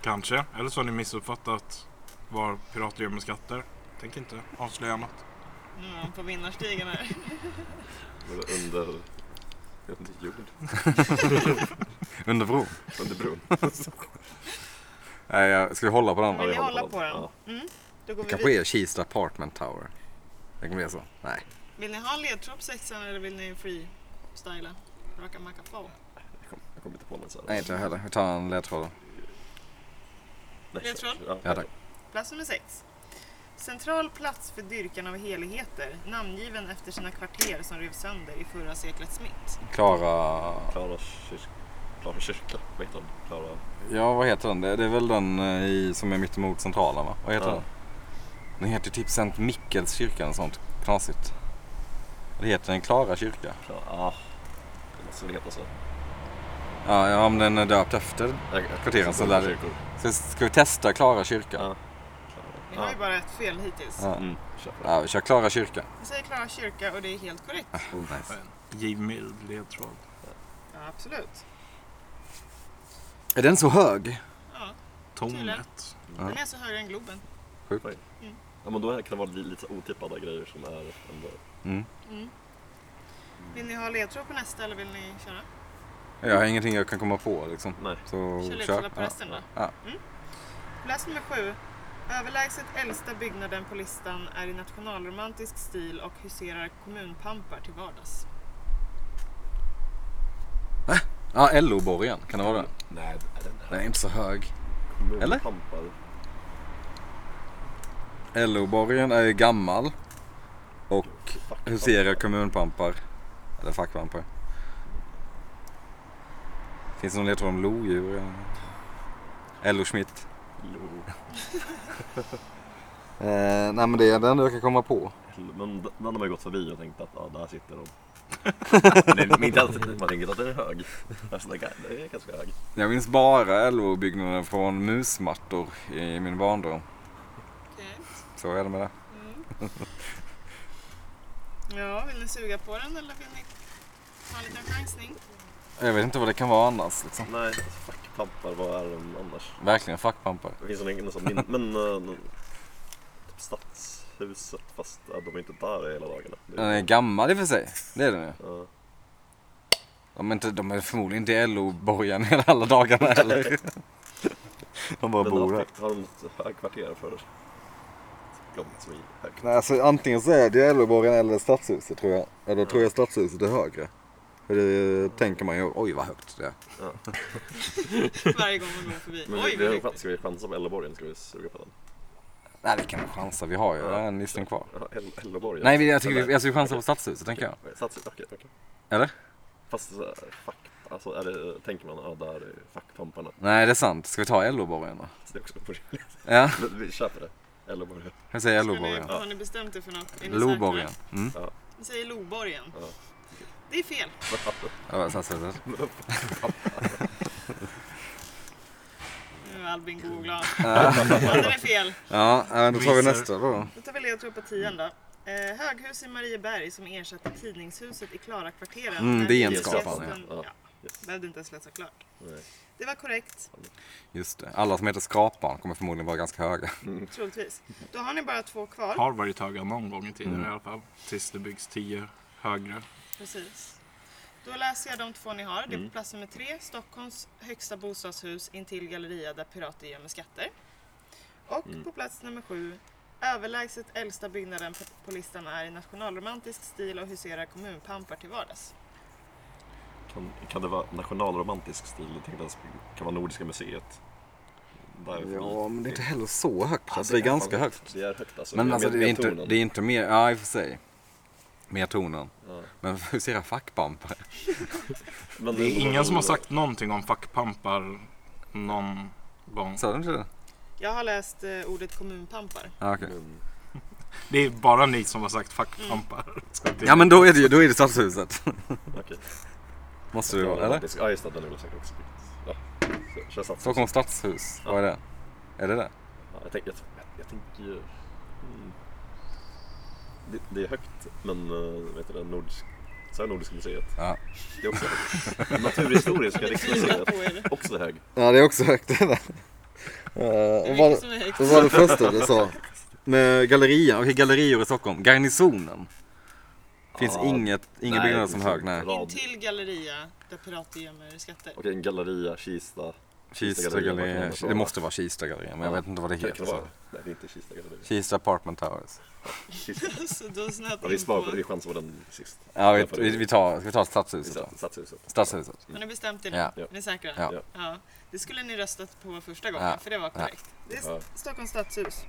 Kanske. Eller så har ni missuppfattat vad pirater gör med skatter. Tänk inte avslöja annat.
Mm, på vinnarstigen här.
Under, under jord.
Under bron.
Under bron.
Nej, jag- ska vi hålla på den?
Ja,
Vill
vi
ni
håller
hålla
på
på
den.
den? Mm. Då går
Det
vi
kanske
vidare.
är Kista Apartment Tower. Det kan bli så. Nej.
Vill ni ha en ledtråd på sexan eller vill ni freestyla? Raka macka på.
Jag kom- jag kommer inte på något sådant.
Nej, inte jag heller. Vi tar en ledtråd.
Nej,
Jag tror.
Ja,
Ja, tack.
Plats nummer sex. Central plats för dyrkan av heligheter, namngiven efter sina kvarter som revs sönder i förra seklets mitt.
Klara...
Klara kyrka. Klara kyrka. Vad heter den? Klara...
Ja, vad heter den? Det det är väl den eh, i, som är mittemot Centralen, va? Vad heter
Ja.
den? Den heter typ Sankt Mikkels kyrka eller sånt knasigt. Det heter den Klara kyrka.
Klara... Ah. Det måste väl heta så.
Ja, ja men den är döpt efter.
Jag- jag-
Kvarteren som lär-
Kyrkor.
Så ska vi testa Klara kyrka?
Ja.
Ni har
Ja.
ju bara ett fel hittills.
Ja.
Mm. Kör på det.
Ja, vi kör Klara kyrka.
Vi säger Klara kyrka och det är helt korrekt.
Oh,
Nice.
Giv mild ledtråd.
Ja, absolut.
Är den så hög?
Ja,
Tornet.
Ja.
den är så högre än Globen.
Ja, men då kan det vara li- lite så otippade grejer som är ändå...
Mm.
Mm. Vill ni ha ledtråd på nästa eller vill ni köra?
Jag har ingenting jag kan komma på liksom.
Nej.
Så
Kör
kör.
ledtrådar på
Ja.
resten då. Mm.
Ja.
Plats nummer sju. Överlägset äldsta byggnaden på listan är i nationalromantisk stil och huserar kommunpampar till vardags.
Ja, LO-borgen. Kan det vara det?
Nej, den
Den är inte så hög.
här
Eller?
Pampar.
LO-borgen är ju gammal. Och huserar kommunpampar. Eller fackpampar. Finns det någon ledtråd om lodjur? LO Schmidt.
Jo.
Eh, nej men det är den jag kan komma på.
Mm, Men d- den har man ju gått förbi och tänkt att ja, där sitter de. men, men inte alltid, man tänker att den är hög. Alltså, den kan- den är ganska hög.
Jag minns bara LO-byggnaden från musmattor i min barndom.
Okej.
Så är det med det.
Mm. Ja, vill ni suga på den eller vill ni ha en liten chansning?
Jag vet inte vad det kan vara annars. Liksom.
Nej, alltså, fuck pampar, vad är de annars?
Verkligen fackpampar.
Det finns en, en sån min, men eh, någon- typ stadshuset fast ja, de är inte där hela dagarna. Det
Den
är-
är gammal i och för sig. Det är den ju.
ja.
De är, inte, de är förmodligen inte LO-borgaren hela alla dagarna heller. De bara
Men
bor
har,
där.
har de något högkvarter för de som är högt?
Nej, alltså, antingen så är det LO-borgaren eller stadshuset tror jag. Eller tror jag stadshuset är högre. För det tänker man ju, oj vad högt det är.
Varje gång man går förbi.
Men
Oj,
vi,
vad
vi,
högt.
ska vi chansa på Elleborgen? Ska vi suga på den?
Nej, vi kan chansa. Vi har ju
Ja.
en gissning kvar.
Ja, El- Elleborgen.
Nej, vi- jag tycker vi, jag ska chansa på stadshuset tänker jag.
Stadshuset, okej. okej.
Eller?
Fast så här, fuck, alltså är det, tänker man ja, där är fackpamparna.
Nej, det är sant. Ska vi ta LO-borgaren då?
Så det är också orimligt.
Ja,
Men vi köper det. Elleborgen.
jag säger
Ska ni,
LO-borgaren.
har ni bestämt er för något? Är ni
Loborgen.
säkra?
Mm.
Ni säger Loborgen.
Ja.
Det är fel.
Ja, stadshuset.
Nu är Albin god och glad. Ja, den är fel.
Ja, eh, då tar vi
Visar.
nästa då.
Då tar vi ledtråd på tian då. Eh, höghus i Marieberg som ersatte tidningshuset i Klarakvarteren.
Mm,
när
det är en
hyresgästen-
skapande,
ja.
Ja,
Yes.
behövde inte ens läsa klart.
Nej.
Det var korrekt,
Just det. Alla som heter Skrapan kommer förmodligen vara ganska höga.
troligtvis. Då har ni bara två kvar.
Har varit höga någon gång i tiden
Mm.
i alla fall. Tills det byggs tio högre.
Precis. Då läser jag de två ni har. Det
Mm.
är på plats nummer tre, Stockholms högsta bostadshus intill galleria där pirater gömmer skatter. Och
Mm.
på plats nummer sju, överlägset äldsta byggnaden på, på listan är i nationalromantisk stil och huserar kommunpampar till vardags.
Kan, kan det vara nationalromantisk stil? Jag tänkte att det kan vara Nordiska museet. Därifrån.
Ja, men det är inte heller så högt. Alltså det är ganska
fan
högt.
Det är högt alltså.
Men
Det är
alltså
med-
det är
med
inte,
tonen.
det är inte mer, ja i och för sig. Mer tonen.
Ja.
Men hur ser era fackpampar?
Men
Det är ingen som har sagt någonting om fackpampar någon gång.
Sa de inte det?
Jag har läst eh, ordet kommunpampar.
Ja, okej.
Men-
Det är bara ni som har sagt fackpampar. Ska till-
Ja men då är det ju, då är det stadshuset.
Okej.
Måste det vara, eller?
Det ska- Ja just det, den är väl säkert också byggt. Ja. Så- Kör sats.
Stockholms stadshus, vad är det? Är det det?
Ja, jag, tänker, jag, jag tänker ju... Mm. Det, det är högt, men eh, vet du det, Nordisk, så här Nordiska museet.
Ja.
Det är också högt. Naturhistoriska riksmuseet,
På er.
också hög.
Ja det är också högt det där.
Det är
Uh,
mycket som är högt.
Vad var det första du sa? Med gallerian, okej gallerior i Stockholm. Garnisonen. Finns
Ja,
inget, ingen
nej,
byggnad
det
som
finns
hög,
inte.
nej.
Rad.
In till galleria där pirater gömmer skatter.
Okej, en galleria, Kista.
Kista
Kista galleria,
galleria,
verkligen.
det måste vara Kista galleria men jag
Ja.
vet inte vad det
Kan kan
heter.
det vara?
så.
Nej, det är inte Kista galleria.
Kista apartment towers.
Kista.
Så Alltså, då snöt
Ja,
in
vi sparar
på-
på, vi chansar på den sist.
Ja vi,
Därför-
vi, vi tar, ska vi ta
vi
stadshuset då?
satt- Stadshuset.
Stadshuset.
Har ni bestämt er?
Ja.
nu? Ni är säkra?
Ja.
Ja.
Ja. Det skulle ni röstat på första gången,
Ja.
för det var korrekt. Det är
Ja.
st- Stockholms stadshus.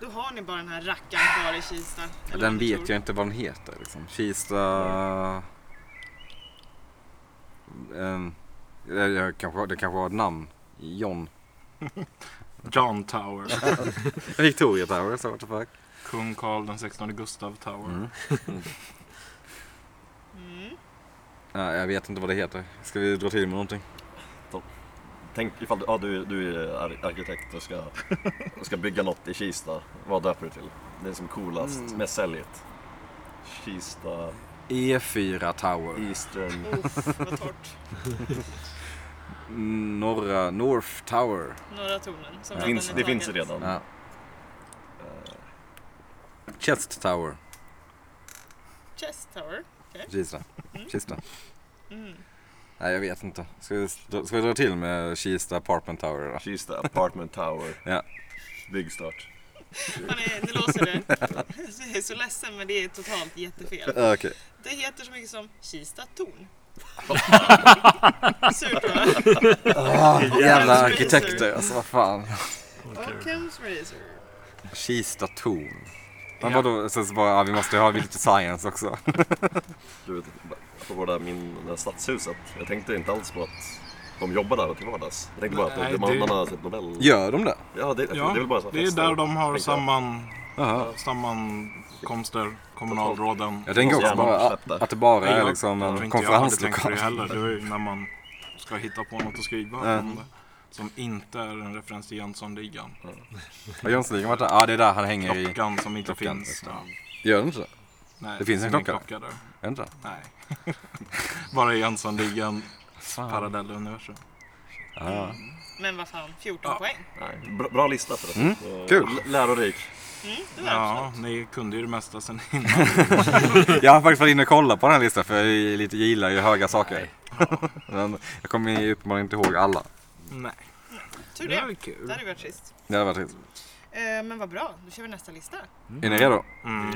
Då har ni bara den här rackaren kvar i Kista. eller vad
Den
ni
vet
tror.
jag inte vad den heter liksom. Kista... Ehm, jag- jag kanske, det kanske var ett namn. John.
John Tower.
Victoria Towers, what the fuck.
Kung Karl den 16 Gustav Tower.
Mm.
Mm.
Ja, jag vet inte vad det heter. Ska vi dra till med någonting?
Tänk ifall du, ja, du, du är ar- arkitekt och ska, och ska bygga något i Kista. Vad döper du till? Det är som coolast,
Mm.
mest säljigt. Kista
E4 E Tower.
Eastern...
Uff, vad torrt.
Norra North Tower.
Några tonen. Som
Det
Det
redan
finns,
är
det finns ju
taget.
redan.
Ja. eh, Chest Tower.
Chess Tower.
Kista. Kista.
Mm.
Nej, jag vet inte. Ska vi, ska vi dra till med Kista Apartment Tower då?
Kista Apartment Tower.
Ja.
Byggstart.
Hörrni, ni låser det. Jag är så ledsen men det är totalt jättefel.
Ja, Okej.
Det heter så mycket som Kista torn. Surt va?
Ah, jävla
Hell's
arkitekter
Freezer.
alltså, vad fan.
Occam's razor.
Kista torn. Men
Ja.
vadå, sen så bara, ja, vi måste ha lite science också.
Du vet, på det där min, det där stadshuset. Jag tänkte inte alls på att de jobbar där till vardags. Jag tänkte bara att
Nej,
de- de
det-
har sett typ Nobel...
Gör de det?
Ja, det, jag tror-
Ja,
det är väl bara så här
det är
fester,
där de har
tänker jag.
samman,
Jaha.
sammankomster, kommunalråden.
Jag tänker också
Jävlar,
bara att,
släpp det.
att det bara
Nej,
är
jag-
liksom
jag tror
en liksom.
inte jag hade tänkt på
konferenslokal.
det heller. Det är ju när man ska hitta på något att skriva
Mm.
om det. Som inte är en referens till Jönssonligan.
Har Jönssonligan varit där? Ja, det är där han hänger i.
Klockan som inte
Klockan,
finns.
liksom.
Ja.
Gör den inte det?
Nej,
Det finns en
ingen
klocka.
där.
Är inte det?
Nej. Bara i Jönssonligan
Fan.
parallelluniversum.
Ja.
Men vad fan, 14
Ja.
poäng.
Nej, bra, bra lista för det.
Mm,
Eh,
kul.
l- Lärorik.
Mm, det var
Ja,
absolut.
ni kunde ju det mesta sen innan.
Jag har faktiskt varit inne och kollat på den här listan för jag är lite, gillar ju höga saker. Men jag kommer ju uppenbarligen inte ihåg alla.
Nej,
Tur
det
det.
var ju
Det
kul.
hade ju varit trist.
Det hade varit trist.
Eh, men vad bra, då kör vi nästa lista.
Är ni redo?
Mm.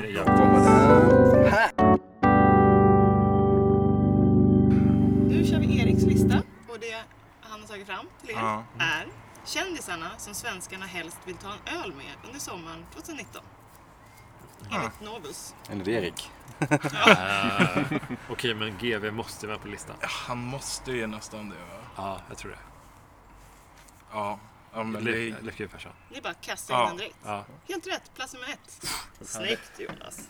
Nu kör vi Eriks lista och det han har tagit fram till er
Ja.
är kändisarna som svenskarna helst vill ta en öl med under sommaren 2019. Enligt Novus.
Enligt Erik.
Eh, Okej, men GV måste vara på listan.
Han måste ju nästan det va?
Ja, jag tror det.
Ja. ja men det,
Leif GW Persson.
Ni bara kastar in
Ja.
den direkt.
Ja.
Helt rätt, plats nummer ett. Snyggt Jonas.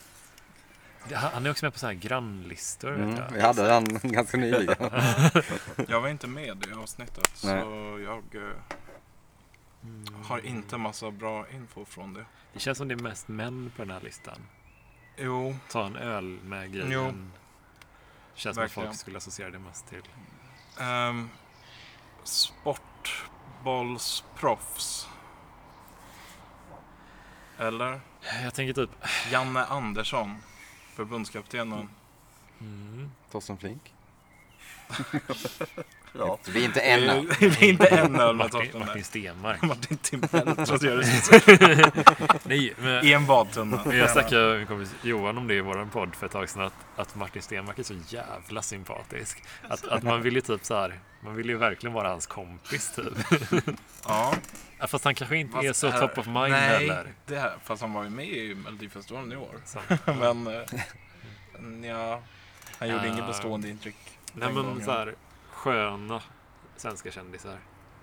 Det- Han han är också med på så här grannlistor.
Mm,
Vet
vi
jag.
hade han ganska nyligen.
jag var inte med i avsnittet så jag eh, har inte massa bra info från det.
Det känns som det är mest män på den här listan.
Jo,
Ta en öl med grejen.
Jo.
Känns som att
Verkligen.
folk skulle associera det mest till.
ehm, sportbollsproffs. Eller?
Jag tänker typ...
Janne Andersson, förbundskaptenen.
Mm,
Torsten Flink.
Ja.
Vi är inte en öl.
Det är inte en öl med
Martin,
torsten
Martin
där.
Stenmark.
Martin Timell. Så att jag gör det
Nej, men
I en badtunna.
jag snackade med min kompis Johan om det i vår podd för ett tag sedan. Att, att Martin Stenmark är så jävla sympatisk. Att, att man vill ju typ så här. Man vill ju verkligen vara hans kompis typ.
Ja.
Ja, Fast han kanske inte
Fast
är så
här-
top of mind
nej,
heller.
Det här, fast han var ju med i Melodifestivalen i år.
Så.
Men eh, ja, han gjorde
Ja.
inget bestående intryck.
Eh, Nej
den
men
gången.
så här, sköna svenska kändisar.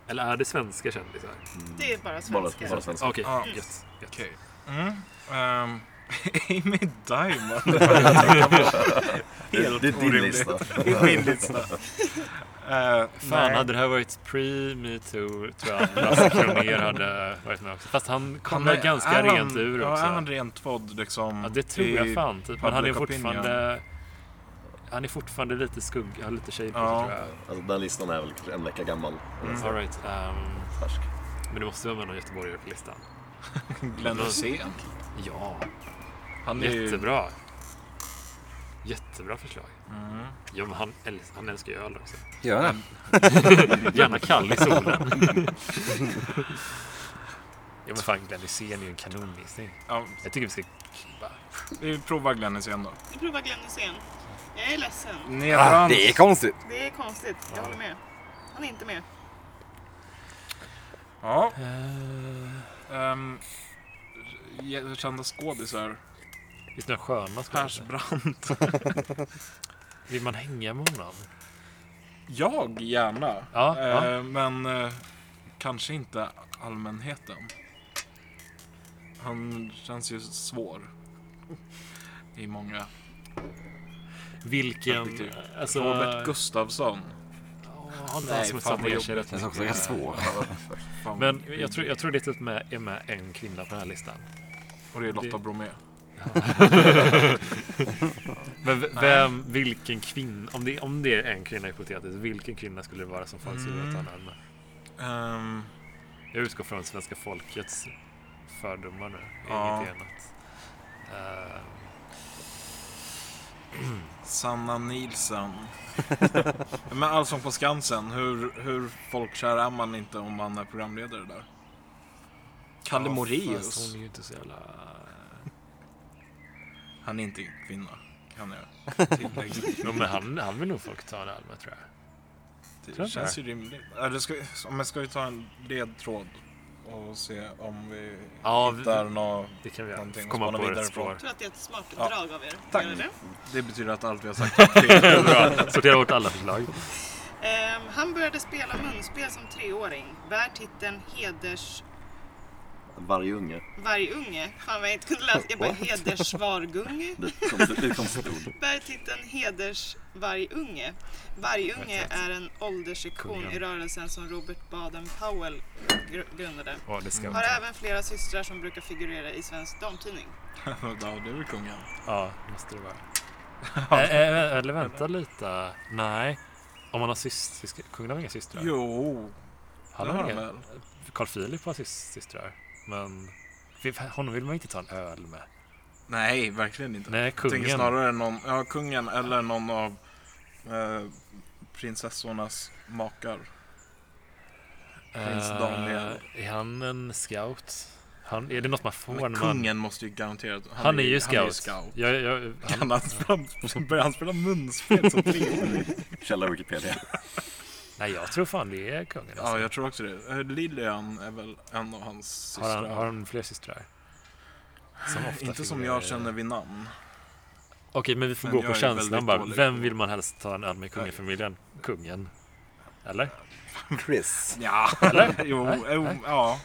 Eller är det svenska kändisar? Alltså,
Det är bara
Bara,
svenskar.
bara svenska.
Okej,
Ja.
gött. gött.
Okej. Mm. Ehm, Amy Diamond. Det var jag tänkte på. Helt
Det är din
orimligt.
lista.
Det är min lista. Eh,
Fan,
nej.
hade det här varit pre-metoo tror jag att Lasse Kronér hade varit med också. Fast han kom
är-
väl ganska
är han-
rent ur
Ja,
också.
är han rent tvådd liksom?
ja, det tror
i-
jag fan. Typ. Men han är
public opinion.
fortfarande... Han är fortfarande lite skugg, har lite shade på
Ja.
sig tror jag.
Alltså, den listan är väl kanske en vecka gammal. Mm.
All right, ehm,
Färsk.
men det måste vara med någon göteborgare på listan.
Glenn Hysén.
Ja,
Han är ju...
jättebra. Jättebra förslag.
Mm.
Ja, men han, äls- han älskar ju öl också.
Gör det?
Gärna kall i solen. ja men fan Glenn Hysén är ju en kanongissning.
Ja,
Jag tycker vi ska klippa.
vi provar Glenn Hysén då.
Vi provar Glenn Hysén. Jag är ledsen.
Nederhand.
Ah, Det är konstigt.
Det är konstigt. Jag håller med. Han är inte med.
Ja.
Eh.
Um, kända skådisar.
Visst är han sköna skådisar?
Persbrandt.
Vill man hänga med honom?
Jag gärna.
Ja,
Eh,
ja.
Men eh, kanske inte allmänheten. Han känns ju svår. I många.
Vilken...
Perspektiv.
Alltså,
Robert Gustafsson.
ja, Har inte
Nej,
han som ett
fan, vad
sambo
jobbigt.
rätt
Känns också
mycket?
rätt svår.
Fan,
Men jag tror, jag tror det typ med, är med en kvinna på den här listan.
Och det är Lotta
det-
Bromé.
Men v- vem, vilken kvinna, om det, om det är en kvinna hypotetiskt, vilken kvinna skulle det vara som folk
Mm.
skulle vilja ta en öl med?
Ehm,
Jag utgår från svenska folkets fördomar nu.
Ja.
Inget annat. Eh,
Sanna Nilsson. Men Allsång på Skansen, hur, hur folkkär är man inte om man är programledare där? Kalle
ja, fast
Moraeus.
Hon är ju inte så jävla...
Han är inte kvinna, kan jag tillägga.
Jo, men han, han vill nog folk ta en öl med tror jag.
Det
Tror
känns ju rimligt. Eller ska, vi- om jag ska vi ta en ledtråd och se om vi
Ja, vi-
hittar något.
Det kan vi göra.
Någonting att
Komma
spana
på
vidare
rätt
på.
spår.
Jag tror att det är ett smart
Ja.
drag av er.
Tack.
Gör det?
Det betyder att allt vi har sagt är fel.
Bra. Sortera bort alla förslag.
Ehm, han började spela munspel som treåring. Bär titeln heders...
Varje unge.
Vargunge. Fan vad jag inte kunde läsa. Jag bara hedersvargunge.
Det är ett konstigt- det är ett konstigt ord.
Bär titeln hedersvargunge. Vargunge är en ålderssektion i
Kungen.
rörelsen som Robert Baden-Powell gr- grundade.
Ja, det ska vi
Har
ta.
även flera systrar som brukar figurera i Svensk Damtidning.
Ja, det är väl kungen.
Ja, det måste det vara. Eh, eh, Eller vänta lite. Nej. Om man har systrar. Kungen har inga systrar.
Jo,
han
det har
har
han
inga.
väl.
Carl Philip har sys- systrar. Men honom vill man ju inte ta en öl med.
Nej, verkligen inte.
Nej,
Jag tänker
kungen.
snarare någon, ja, kungen eller någon av eh, prinsessornas makar. Prins
Eh,
Daniel.
Är han en scout? Han, är det något man får
Men
när man...
kungen måste ju garanterat...
Han, är ju scout. Jag, jag, han,
Kan han spela, börjar han spela munspel som treåring?
Källa Wikipedia.
nej, jag tror fan det är kungen. Alltså.
Ja, jag tror också det. Eh, Lilian är väl en av hans systrar.
har, han, har han fler systrar? Som ofta
Inte som
figurerar
jag
i-
känner vid namn.
Okej, men vi får
Men
gå
jag
på
är
känslan
väldigt
bara.
dålig
Vem
på-
vill man helst ta en öl med i kungafamiljen? Kungen. Eller?
Chris.
Ja,
Eller?
jo,
Nej,
jo,
nej.
ja.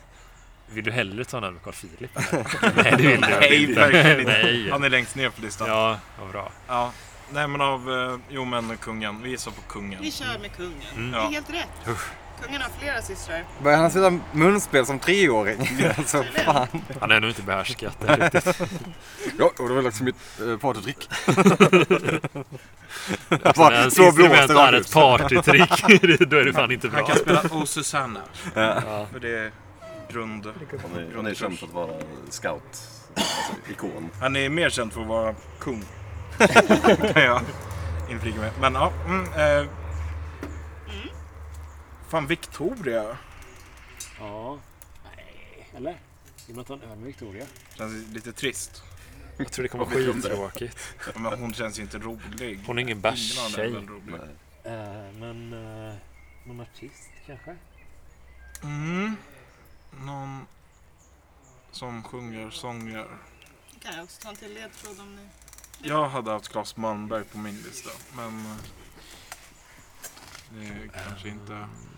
Vill du hellre ta en öl med Carl Philip? eller? nej, det vill du
Nej,
inte.
verkligen inte.
Nej.
Han är längst ner på listan. Ja.
Ja, vad bra.
Nej, men av... eh, Jo, men kungen. Vi gissar på kungen.
Vi kör med kungen. Det
Ja.
är helt rätt. Kungen har flera systrar.
Började han spela munspel som treåring? Alltså fan.
Han har ännu inte behärskat det riktigt.
Ja, och det var liksom mitt eh, partytrick.
När
Bara slå blås
instrumentet
det
är
rakt
ett
ut.
partytrick, då är det fan inte
Han
bra.
kan spela O Susanna.
Ja.
För det är grund.
Han är, han är känd för att vara scout. Alltså, ikon.
Han är mer känd för att vara kung. kan jag inflika med. Men ja. Mm, eh, Fan, Victoria.
Ja. Nej. Eller? Vill man ta en öl med Victoria?
Känns lite trist.
Jag tror det kommer bli skittråkigt.
Men hon känns ju inte rolig.
Hon är ingen
Ingen annan är
bärstjej.
väl rolig.
Eh, men... eh, någon artist kanske?
Mm. Någon som sjunger sånger.
Kan jag också ta en till ledtråd om ni...
Jag hade haft Claes Malmberg på min lista, men eh, det är kanske inte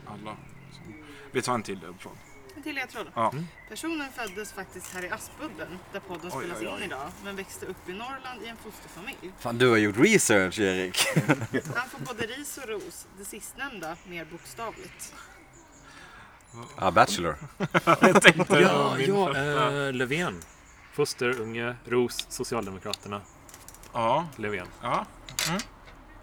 alla. Som... Vi tar en till ledtråd.
En till ledtråd.
Ja.
Personen föddes faktiskt här i Aspudden, där podden
Oj,
spelas
oj, oj.
in idag, men växte upp i Norrland i en fosterfamilj.
Fan, du har gjort research, Erik.
Han får både ris och ros, det sistnämnda mer bokstavligt.
Ja, Bachelor.
Jag tänkte
Ja,
min
ja,
första.
eh, Löfven. Fosterunge, Ros, Socialdemokraterna,
ja,
Löfven.
ja.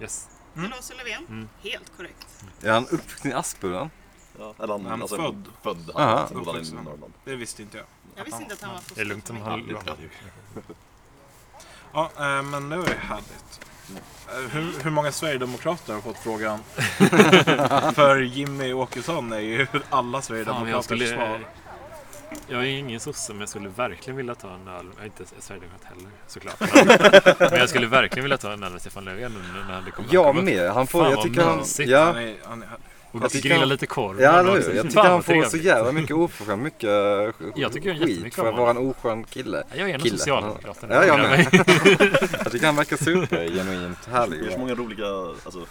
Yes.
Milos Löfven, helt korrekt.
Är han uppvuxen i Aspudden?
Ja, eller han,
Han
alltså,
född.
Född.
Aha.
Han sen bodde han i
Uppvuxen.
Norrland.
Det visste inte jag.
Jag visste inte att han var
Det är lugnt om
fosterfamilj.
han
Lite
ramlar.
ödmjuk.
Ja, eh, men nu är det härligt. Eh, Hur, hur många Sverigedemokrater har fått frågan? För Jimmy Åkesson är ju alla
Fan, jag,
Sverigedemokraters
skulle,
svar.
jag är ingen sosse men jag skulle verkligen vilja ta en öl. Jag är inte sverigedemokrat heller såklart. Men- Men jag skulle verkligen vilja ta en öl med Stefan Löfven nu när det kommer. han
Jag
kommer-
med. Han får,
Fan,
jag
vad
tycker han...
mysigt.
Han
Ja,
är, han är härlig.
Och
Jag tycker
grilla
han-
lite korv.
ja
Fan,
eller hur?
vad
Jag tycker han får
trevligt.
så jävla mycket oförskämt mycket eh,
Jag tycker han är
skit
jättemycket
för att
om
vara en
honom.
oskön kille.
Jag är en
Kille.
socialdemokrat.
Ja, jag med. Jag tycker han verkar supergenuint
Det är så
härlig.
många roliga alltså,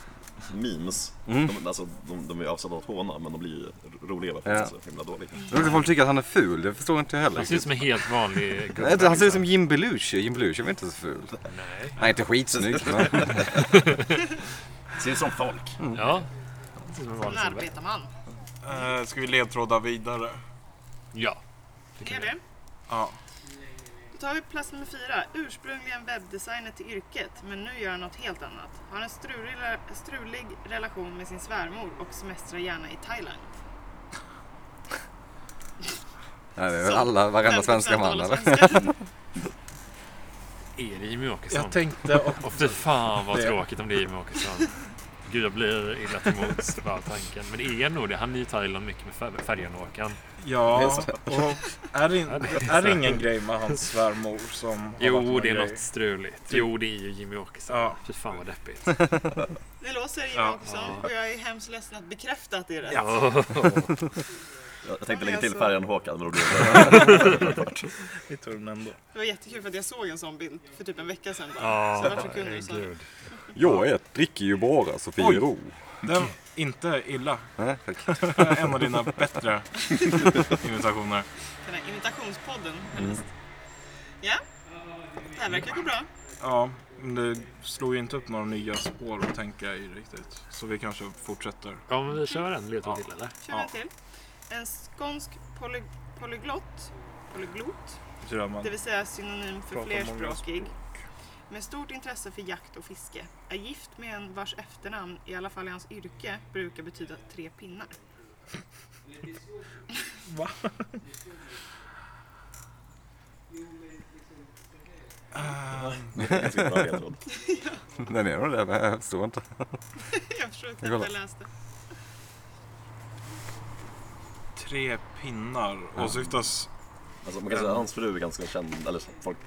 memes.
Mm.
De, alltså, de, de är avsedda att håna men de blir ju roliga bara för
Ja.
att det är så himla dåliga.
Roligt att folk tycker att han är ful, det förstår inte jag heller.
Han ser ut som en helt vanlig
Nej, Han ser ut som Jim Belushi. Jim Belushi var inte så ful.
Nej.
Han är inte skitsnygg. Men...
Ser ut som folk.
Mm.
Ja. Han ser ut som en
Som en
vanlig snubbe.
arbetarman.
Eh, ska vi ledtråda vidare?
Ja.
Det är det.
Ja.
Då tar vi plats nummer fyra. Ursprungligen webbdesigner till yrket, men nu gör han något helt annat. Har en strulig, strulig relation med sin svärmor och semestrar gärna i Thailand.
Nej, det är väl alla, varenda
50%
svenska man
alla
eller?
svenskar.
Är det Jimmie Åkesson?
Jag tänkte också...
Åh fy fan vad
Det-
tråkigt om det är Jimmie Åkesson. Gud, jag blir illa till mods bara av tanken. Men det är nog det. Han är ju i Thailand mycket med fär- färjan-Håkan.
Ja, och är det, in, är det ingen grej med hans svärmor som... har varit
Jo,
någon
det är
grej?
något struligt. Jo, det är ju Jimmie Åkesson.
Ja.
Fy fan vad deppigt.
Det låser Jimmie
Ja.
Åkesson och jag är hemskt ledsen att bekräfta att det är rätt.
Ja.
Jag, jag tänkte lägga
Ja,
till
så-
färjan Håkan men då blir det
Det tror jag ändå.
Det var jättekul för att jag såg en sån bild för typ en vecka sedan bara.
Ja,
Så jag var så kul och sa det.
herregud.
Jag ät, dricker ju bara Sofiero.
Den, inte illa. Eh,
Nej, tack.
En av dina bättre imitationer.
Den här
Mm.
imitationspodden. helst. Ja, det här verkar gå bra.
Ja, men det slog ju inte upp några nya spår att tänka i riktigt. Så vi kanske fortsätter.
Ja, men vi kör en ledtråd
Ja.
till eller?
Kör
Ja.
en till. En skånsk poly, polyglott, polyglot
Tror jag man.
Det vill säga synonym för
Pratar många
flerspråkig.
språk.
Med stort intresse för jakt och fiske. Är gift med en vars efternamn, i alla fall i hans yrke, brukar betyda tre pinnar.
Ah,
ganska bra ledtråd.
Den är nog det, men jag förstår inte.
Jag förstår inte
Jag
att
kollar.
jag läste.
Tre pinnar. Åsyftas...
Alltså, man kan säga att hans fru är ganska känd, eller så- folk...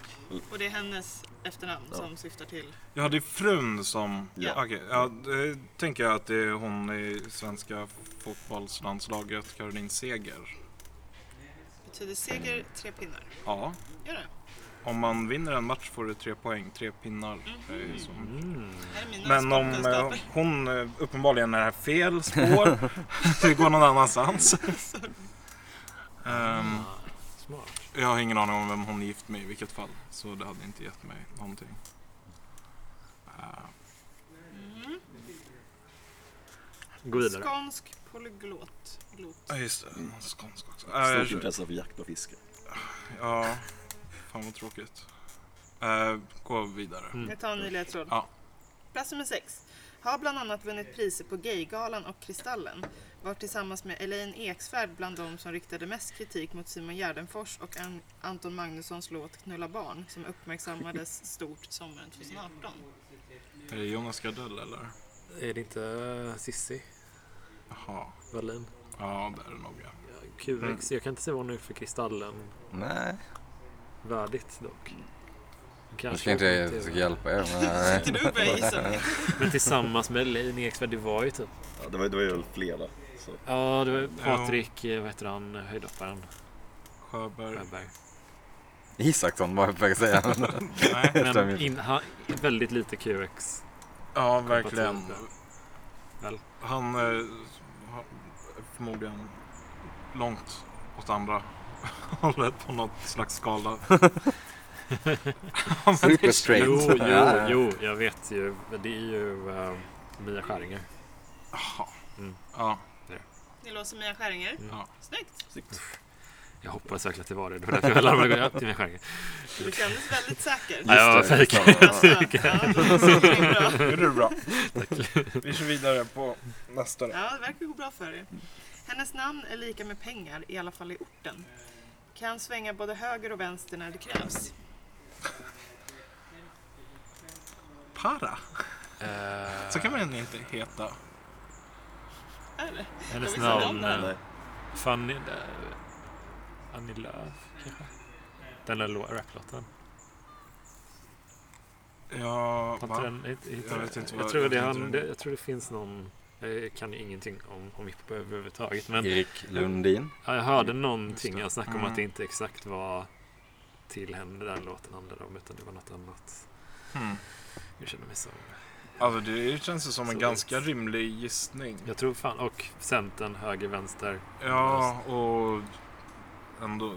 Och det är hennes efternamn som syftar till...
Ja, det är frun som...
Ja.
Okej, ja, det tänker jag att det är hon i svenska fotbollslandslaget, Caroline Seger.
Betyder seger tre pinnar.
Ja.
Gör det.
Om man vinner en match får du tre poäng, tre pinnar. Det är ju som-
Mhm. Mm. Det här är mina
Men om eh,
sportkunskaper.
hon eh, uppenbarligen är fel spår, det går någon annanstans. Ehm,
Smart.
jag har ingen aning om vem hon är gift med i vilket fall, så det hade inte gett mig någonting.
Gå vidare.
Skånsk polyglot. Glot.
Ja, just det. Någon skånsk också. Eh,
Stort
jag-
intresse för jakt och fiske.
ja, fan vad tråkigt. Eh, gå vidare.
Jag tar en ny ledtråd.
Ja.
Plats nummer sex. Har bland annat vunnit priser på Gaygalan och Kristallen. Var tillsammans med Elaine Eksvärd bland de som riktade mest kritik mot Simon Gärdenfors och An- Anton Magnussons låt Knulla barn som uppmärksammades stort sommaren 2018.
Är det eh, Jonas Gardell eller?
Är det inte Sissi?
Jaha.
Berlin.
Ja, där är det nog ja.
Ja, QX. Jag kan inte se vad hon är för kristallen
Nej,
värdigt dock.
jag ska inte jag försöka hjälpa er. Men,
Sitter du och börjar gissa?
Men tillsammans med Lin Eksvärd, det var ju typ...
Ja, det, var, det var ju väl flera. Så.
Ja, det var Patrik, eh, vad heter han, höjdhopparen
Sjöberg.
Sjöberg.
Isaksson var jag på väg att säga.
Nej.
Men
Stämmer.
in, han, väldigt lite QX.
Ja, verkligen.
Väl?
Han eh, har förmodligen långt åt andra hållet på något slags skala.
Super straight.
Jo, jo,
Ja.
jo, jag vet ju. Det är ju eh, Mia Skäringer.
Jaha.
Mm.
Ja,
Det låter Mia Skäringer.
ja.
Snyggt.
Jag hoppas verkligen att det var det. Det var därför jag larmade. Ja, Mia Skäringer.
Du kändes väldigt säker.
Nej, jag var
det,
fejk.
Alltså, ja, det är bra.
Nu är det bra. Vi kör vidare på nästa. då.
Ja, det verkar gå bra för er. Hennes namn är lika med pengar, i alla fall i orten. Kan svänga både höger och vänster när det krävs.
Para.
Eh,
Så kan man inte heta.
Eller?
Hennes
Jag visste
namn...
inte om
eh,
Nej.
Fanny... eh, Annie Lööf, kanske? Den där lå- raplåten.
Ja,
Har
va?
inte den- hit- hittar-
Jag vet inte
Jag
vad-
tror
jag
det
tänkte
han-
den.
det- jag tror det finns någon... Jag kan ju ingenting om, om hiphop överhuvudtaget. Men
Erik Lundin.
ja, jag hörde någonting.
det.
Jag snackade om
Mm.
att det inte exakt var till henne den låten handlade om. Utan det var något annat.
Hmm.
Jag känner mig så...
Alltså, det känns ju som en
Så
ganska
vet.
rimlig gissning.
Jag tror fan... Och Centern, höger, vänster.
Ja, och ändå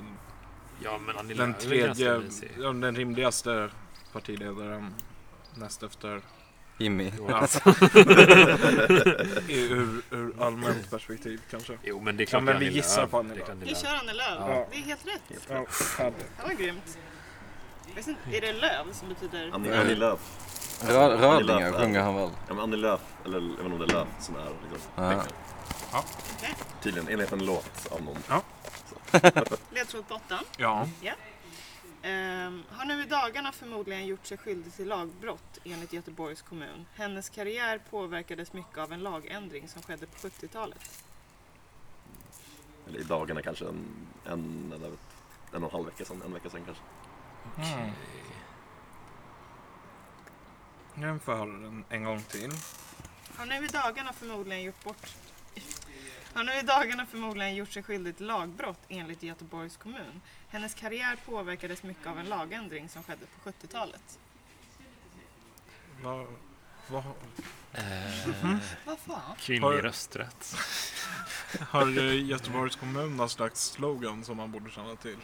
Ja, men Annie
den
Lööf är väl ganska
tredje,
mysig.
ja, den rimligaste partiledaren näst efter
Jimmy.
ja, i- ur, ur allmänt perspektiv kanske.
Jo, men det är klart
men
det är
vi
Annie
gissar
Lööf.
på Annie
Det är klart
Vi kör Annie Lööf.
Ja.
Det är helt rätt.
Ja, härligt.
Det var grymt. Jag vet inte, Är det löv som betyder...
Annie,
Mm.
Annie Lööf.
Rö- Rödingar sjunger han väl?
Ja, men Annie Lööf, eller jag vet inte om det är Lööf som är liksom,
Ja.
pengar.
Okej.
Tydligen enligt en låt av någon.
Ledtråd på åttan.
Ja,
Ehm, har nu i dagarna förmodligen gjort sig skyldig till lagbrott enligt Göteborgs kommun. Hennes karriär påverkades mycket av en lagändring som skedde på 70-talet.
Eller i dagarna kanske en, en eller ett, en och en halv vecka sedan. En vecka sedan kanske.
Mm. nu får jag höra den en gång till.
Har nu i dagarna förmodligen gjort bort... Har nu i dagarna förmodligen gjort sig skyldig till lagbrott enligt Göteborgs kommun. Hennes karriär påverkades mycket av en lagändring som skedde på 70-talet.
Vad, vad,
Vad fan?
Har-
Kvinnlig rösträtt.
har eh, Göteborgs kommun någon slags slogan som man borde känna till?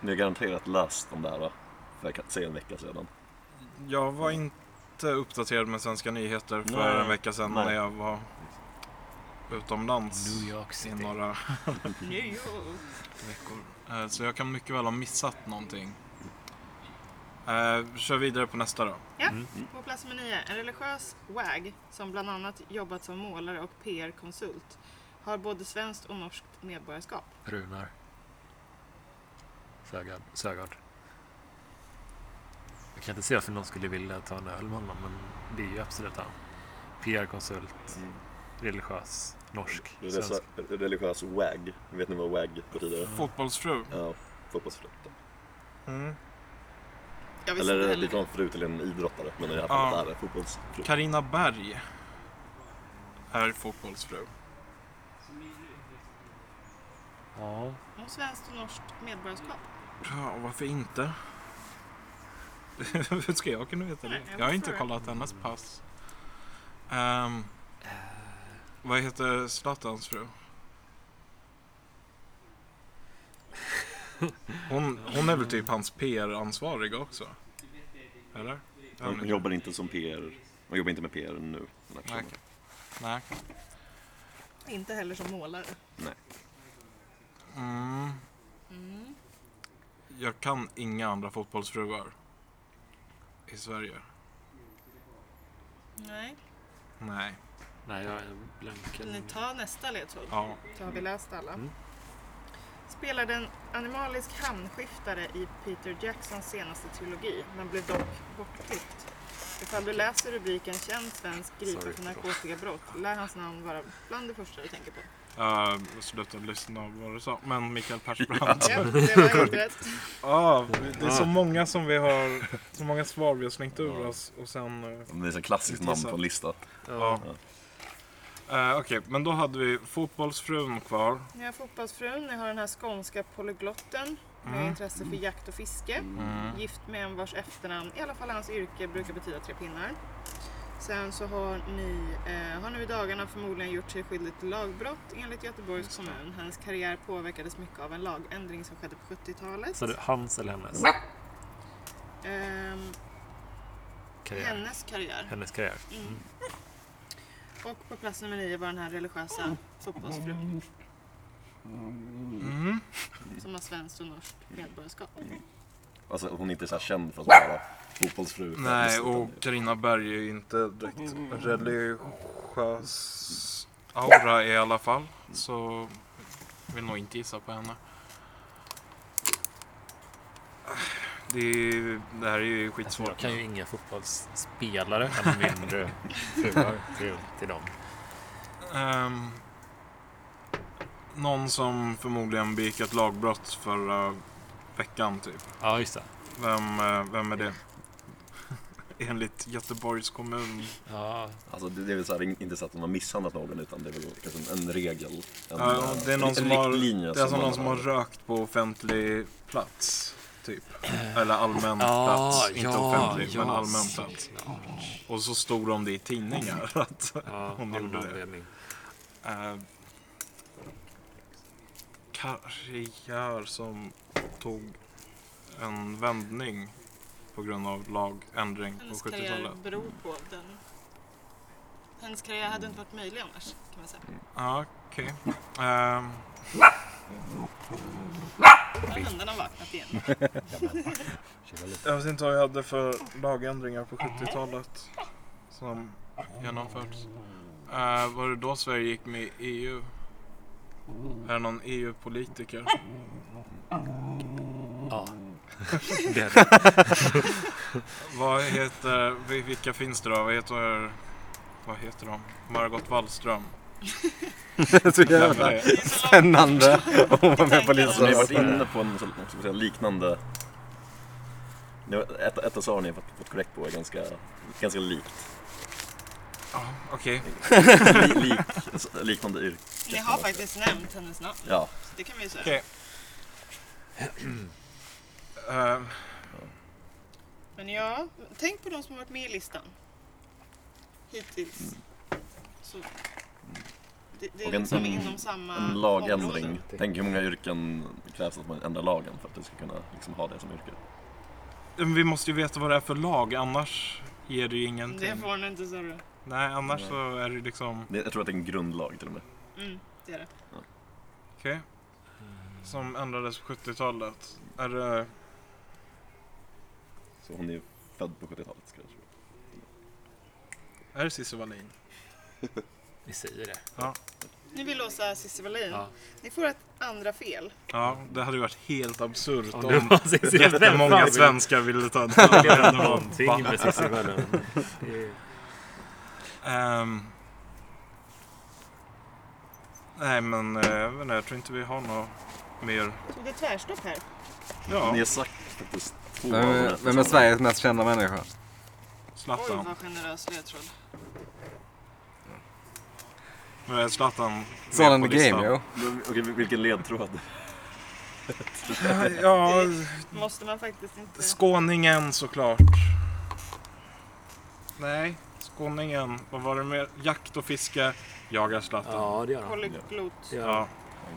Ni har garanterat läst om det här va? För jag kan se en vecka sedan.
Jag var
Mm.
inte uppdaterad med svenska nyheter för
Nej.
en vecka sedan
Nej.
när jag var utomlands
New York
i
City.
några
New York.
veckor. Eh, Så jag kan mycket väl ha missat någonting. Eh, Kör vidare på nästa då.
På plats nummer nio, en religiös WAG som bland annat jobbat som målare och PR-konsult har både svenskt och norskt medborgarskap.
Runar. Sögaard. Sögaard. Jag kan inte se varför någon skulle vilja ta en öl med honom, men det är ju absolut han. PR-konsult, religiös, norsk,
Religiös,
svensk.
religiös WAG. Vet ni vad WAG betyder?
Fotbollsfru.
Ja, fotbollsfru.
Mm.
Jag visste inte
Eller
heller.
det var en fru till en idrottare. Men i det här
Ja.
fallet är det fotbollsfru.
Karina Berg är fotbollsfru.
Ja.
Och svenskt och norskt medborgarskap.
Ja, och varför inte? Hur ska jag kunna veta det?
Nej, jag
Jag har inte
förstår det.
kollat hennes pass. Ehm, vad heter Zlatans fru? Hon, hon är väl typ hans PR-ansvariga också? Eller? Jag vet
Hon
inte.
jobbar inte som PR. Hon jobbar inte med PR nu. Den här
Nej,
personen.
okej. Nej.
Inte heller som målare.
Mm.
Mm.
Jag kan inga andra fotbollsfruar i Sverige.
Nej.
Nej.
Nej, jag är
Vill ni
blanken.
ta nästa ledtråd?
Ja.
Så har vi läst alla.
Mm.
Spelade en animalisk hamnskiftare i Peter Jacksons senaste trilogi, men blev dock bortklippt. Ifall du läser rubriken Känd svensk gripen
Sorry,
för
förlåt.
narkotikabrott lär hans namn vara bland det första du tänker på.
Uh, slutade lyssna på vad du sa. Men Mikael Persbrandt.
Ja, det var helt rätt.
Ja, det är så många som vi har, så många svar vi har slängt ur oss och sen... eh,
Det är ett klassiskt namn på en lista.
Ja. Eh, Okej, men då hade vi fotbollsfrun kvar.
Ni har fotbollsfrun, ni har den här skånska polyglotten med
Mm.
intresse för jakt och fiske.
Mm.
Gift med en vars efternamn, i alla fall hans yrke, brukar betyda tre pinnar. Sen så har ni, eh, har nu i dagarna förmodligen gjort sig skyldig till lagbrott enligt Göteborgs kommun. Hans karriär påverkades mycket av en lagändring som skedde på 70-talet.
Så det, hans eller hennes
Ehm,
karriär?
hennes karriär.
Hennes karriär.
Mm. Och på plats nummer nio var den här religiösa fotbollsfrun
Mm.
som har svenskt och norskt medborgarskap.
Alltså hon är inte så här känd för att vara fotbollsfru.
Nej,
utan-
och Carina Berg är ju inte direkt religiös aura i alla fall. Så jag vill nog inte gissa på henne. Det, är, ju- det här är ju
Alltså, jag
skitsvårt.
kan ju inga fotbollsspelare än mindre fruar till, till dem.
Ehm, någon som förmodligen begick ett lagbrott förra veckan typ.
Ja, just det.
Vem, eh, vem är det? Enligt Göteborgs kommun.
Ja,
Alltså det det är väl så här, inte så att hon har misshandlat någon utan det är väl kanske en, en regel. En,
Ja, det är någon
en
som har-
riktlinje
Det är alltså någon som har
man
rökt på offentlig plats. Typ. Eller allmän
ja,
plats. Inte
ja,
offentlig, men
ja,
allmän
såklart.
plats. Och så stod de det i tidningar. Att,
Ja,
Hon
av
gjorde
någon
det.
anledning.
eh, karriär som tog en vändning på grund av lagändring på
Hennes karriär
70-talet.
beror på den. Hennes karriär hade inte varit möjlig annars kan man säga.
Ja, Ah, okej. Ehm,
Nu har hundarna vaknat igen.
Jag vet inte vad vi hade för lagändringar på 70-talet som genomförts. Eh, var det då Sverige gick med i EU? Är det någon E EU-politiker?
Ja. Det är det.
Vad heter, vil- vilka finns det då? Vad heter, vad heter de? Margot Wallström?
Så
Vem är
jävla
det?
Det är så långt
spännande att vara med på
Alltså, ni har varit
listan.
inne på en så- vad ska man säga, liknande... Ni har- Ett, ett av svaren ni har fått- fått korrekt på är ganska, ganska likt.
Ja, Okej.
Li, lik liknande yrke.
Ni har faktiskt nämnt hennes namn.
Ja,
så Det kan vi ju säga.
Okej. Eh,
Men ja, tänk på de som har varit med i listan. Hittills.
Mm.
Så det, det
Och
är
en-
liksom
en-
inom samma
Mm.
en lagändring.
område. Mm,
Tänk hur många yrken krävs att man ändrar lagen för att du ska kunna liksom, ha det som yrke.
men vi måste ju veta vad det är för lag, annars ger det ju
Det
ingenting.
får ni inte, sa du.
Nej, annars så är det liksom...
Det- Jag tror att det är en grundlag till och med.
Mm, det är det.
Okej. Som ändrades på 70-talet. Är det...
Så hon är ju född på 70-talet. Ska jag tro.
Är det Cissi Wallin?
Vi säger det.
Nu vill låsa Cissi Wallin.
Ja.
Ni får ett andra fel.
Ja, det hade ju varit helt absurt
Om det
om
var Cissi
jättemånga
Wallin.
svenskar ville ta en
Det
tugga.
är någonting med Cissi Wallin. Det är-
Ehm. Nej, men eh, jag vet inte, jag tror inte vi har något mer.
Tog det tvärstopp här?
Ni
Ja,
har sagt faktiskt två av de
Vem,
rätta
vem är
svaren.
Sveriges mest kända människa?
Oj,
Zlatan.
vad generös ledtråd.
Nu är Eh, Zlatan med
Sådan
på
the
listan.
game jo.
Men, Okej, vilken ledtråd?
Ja,
Måste man faktiskt inte...
skåningen såklart. Nej, skåningen. Vad var det med? Jakt och fiske. Jagar Zlatan.
Ja, det gör han.
Polyglot.
Det gör han.
Ja.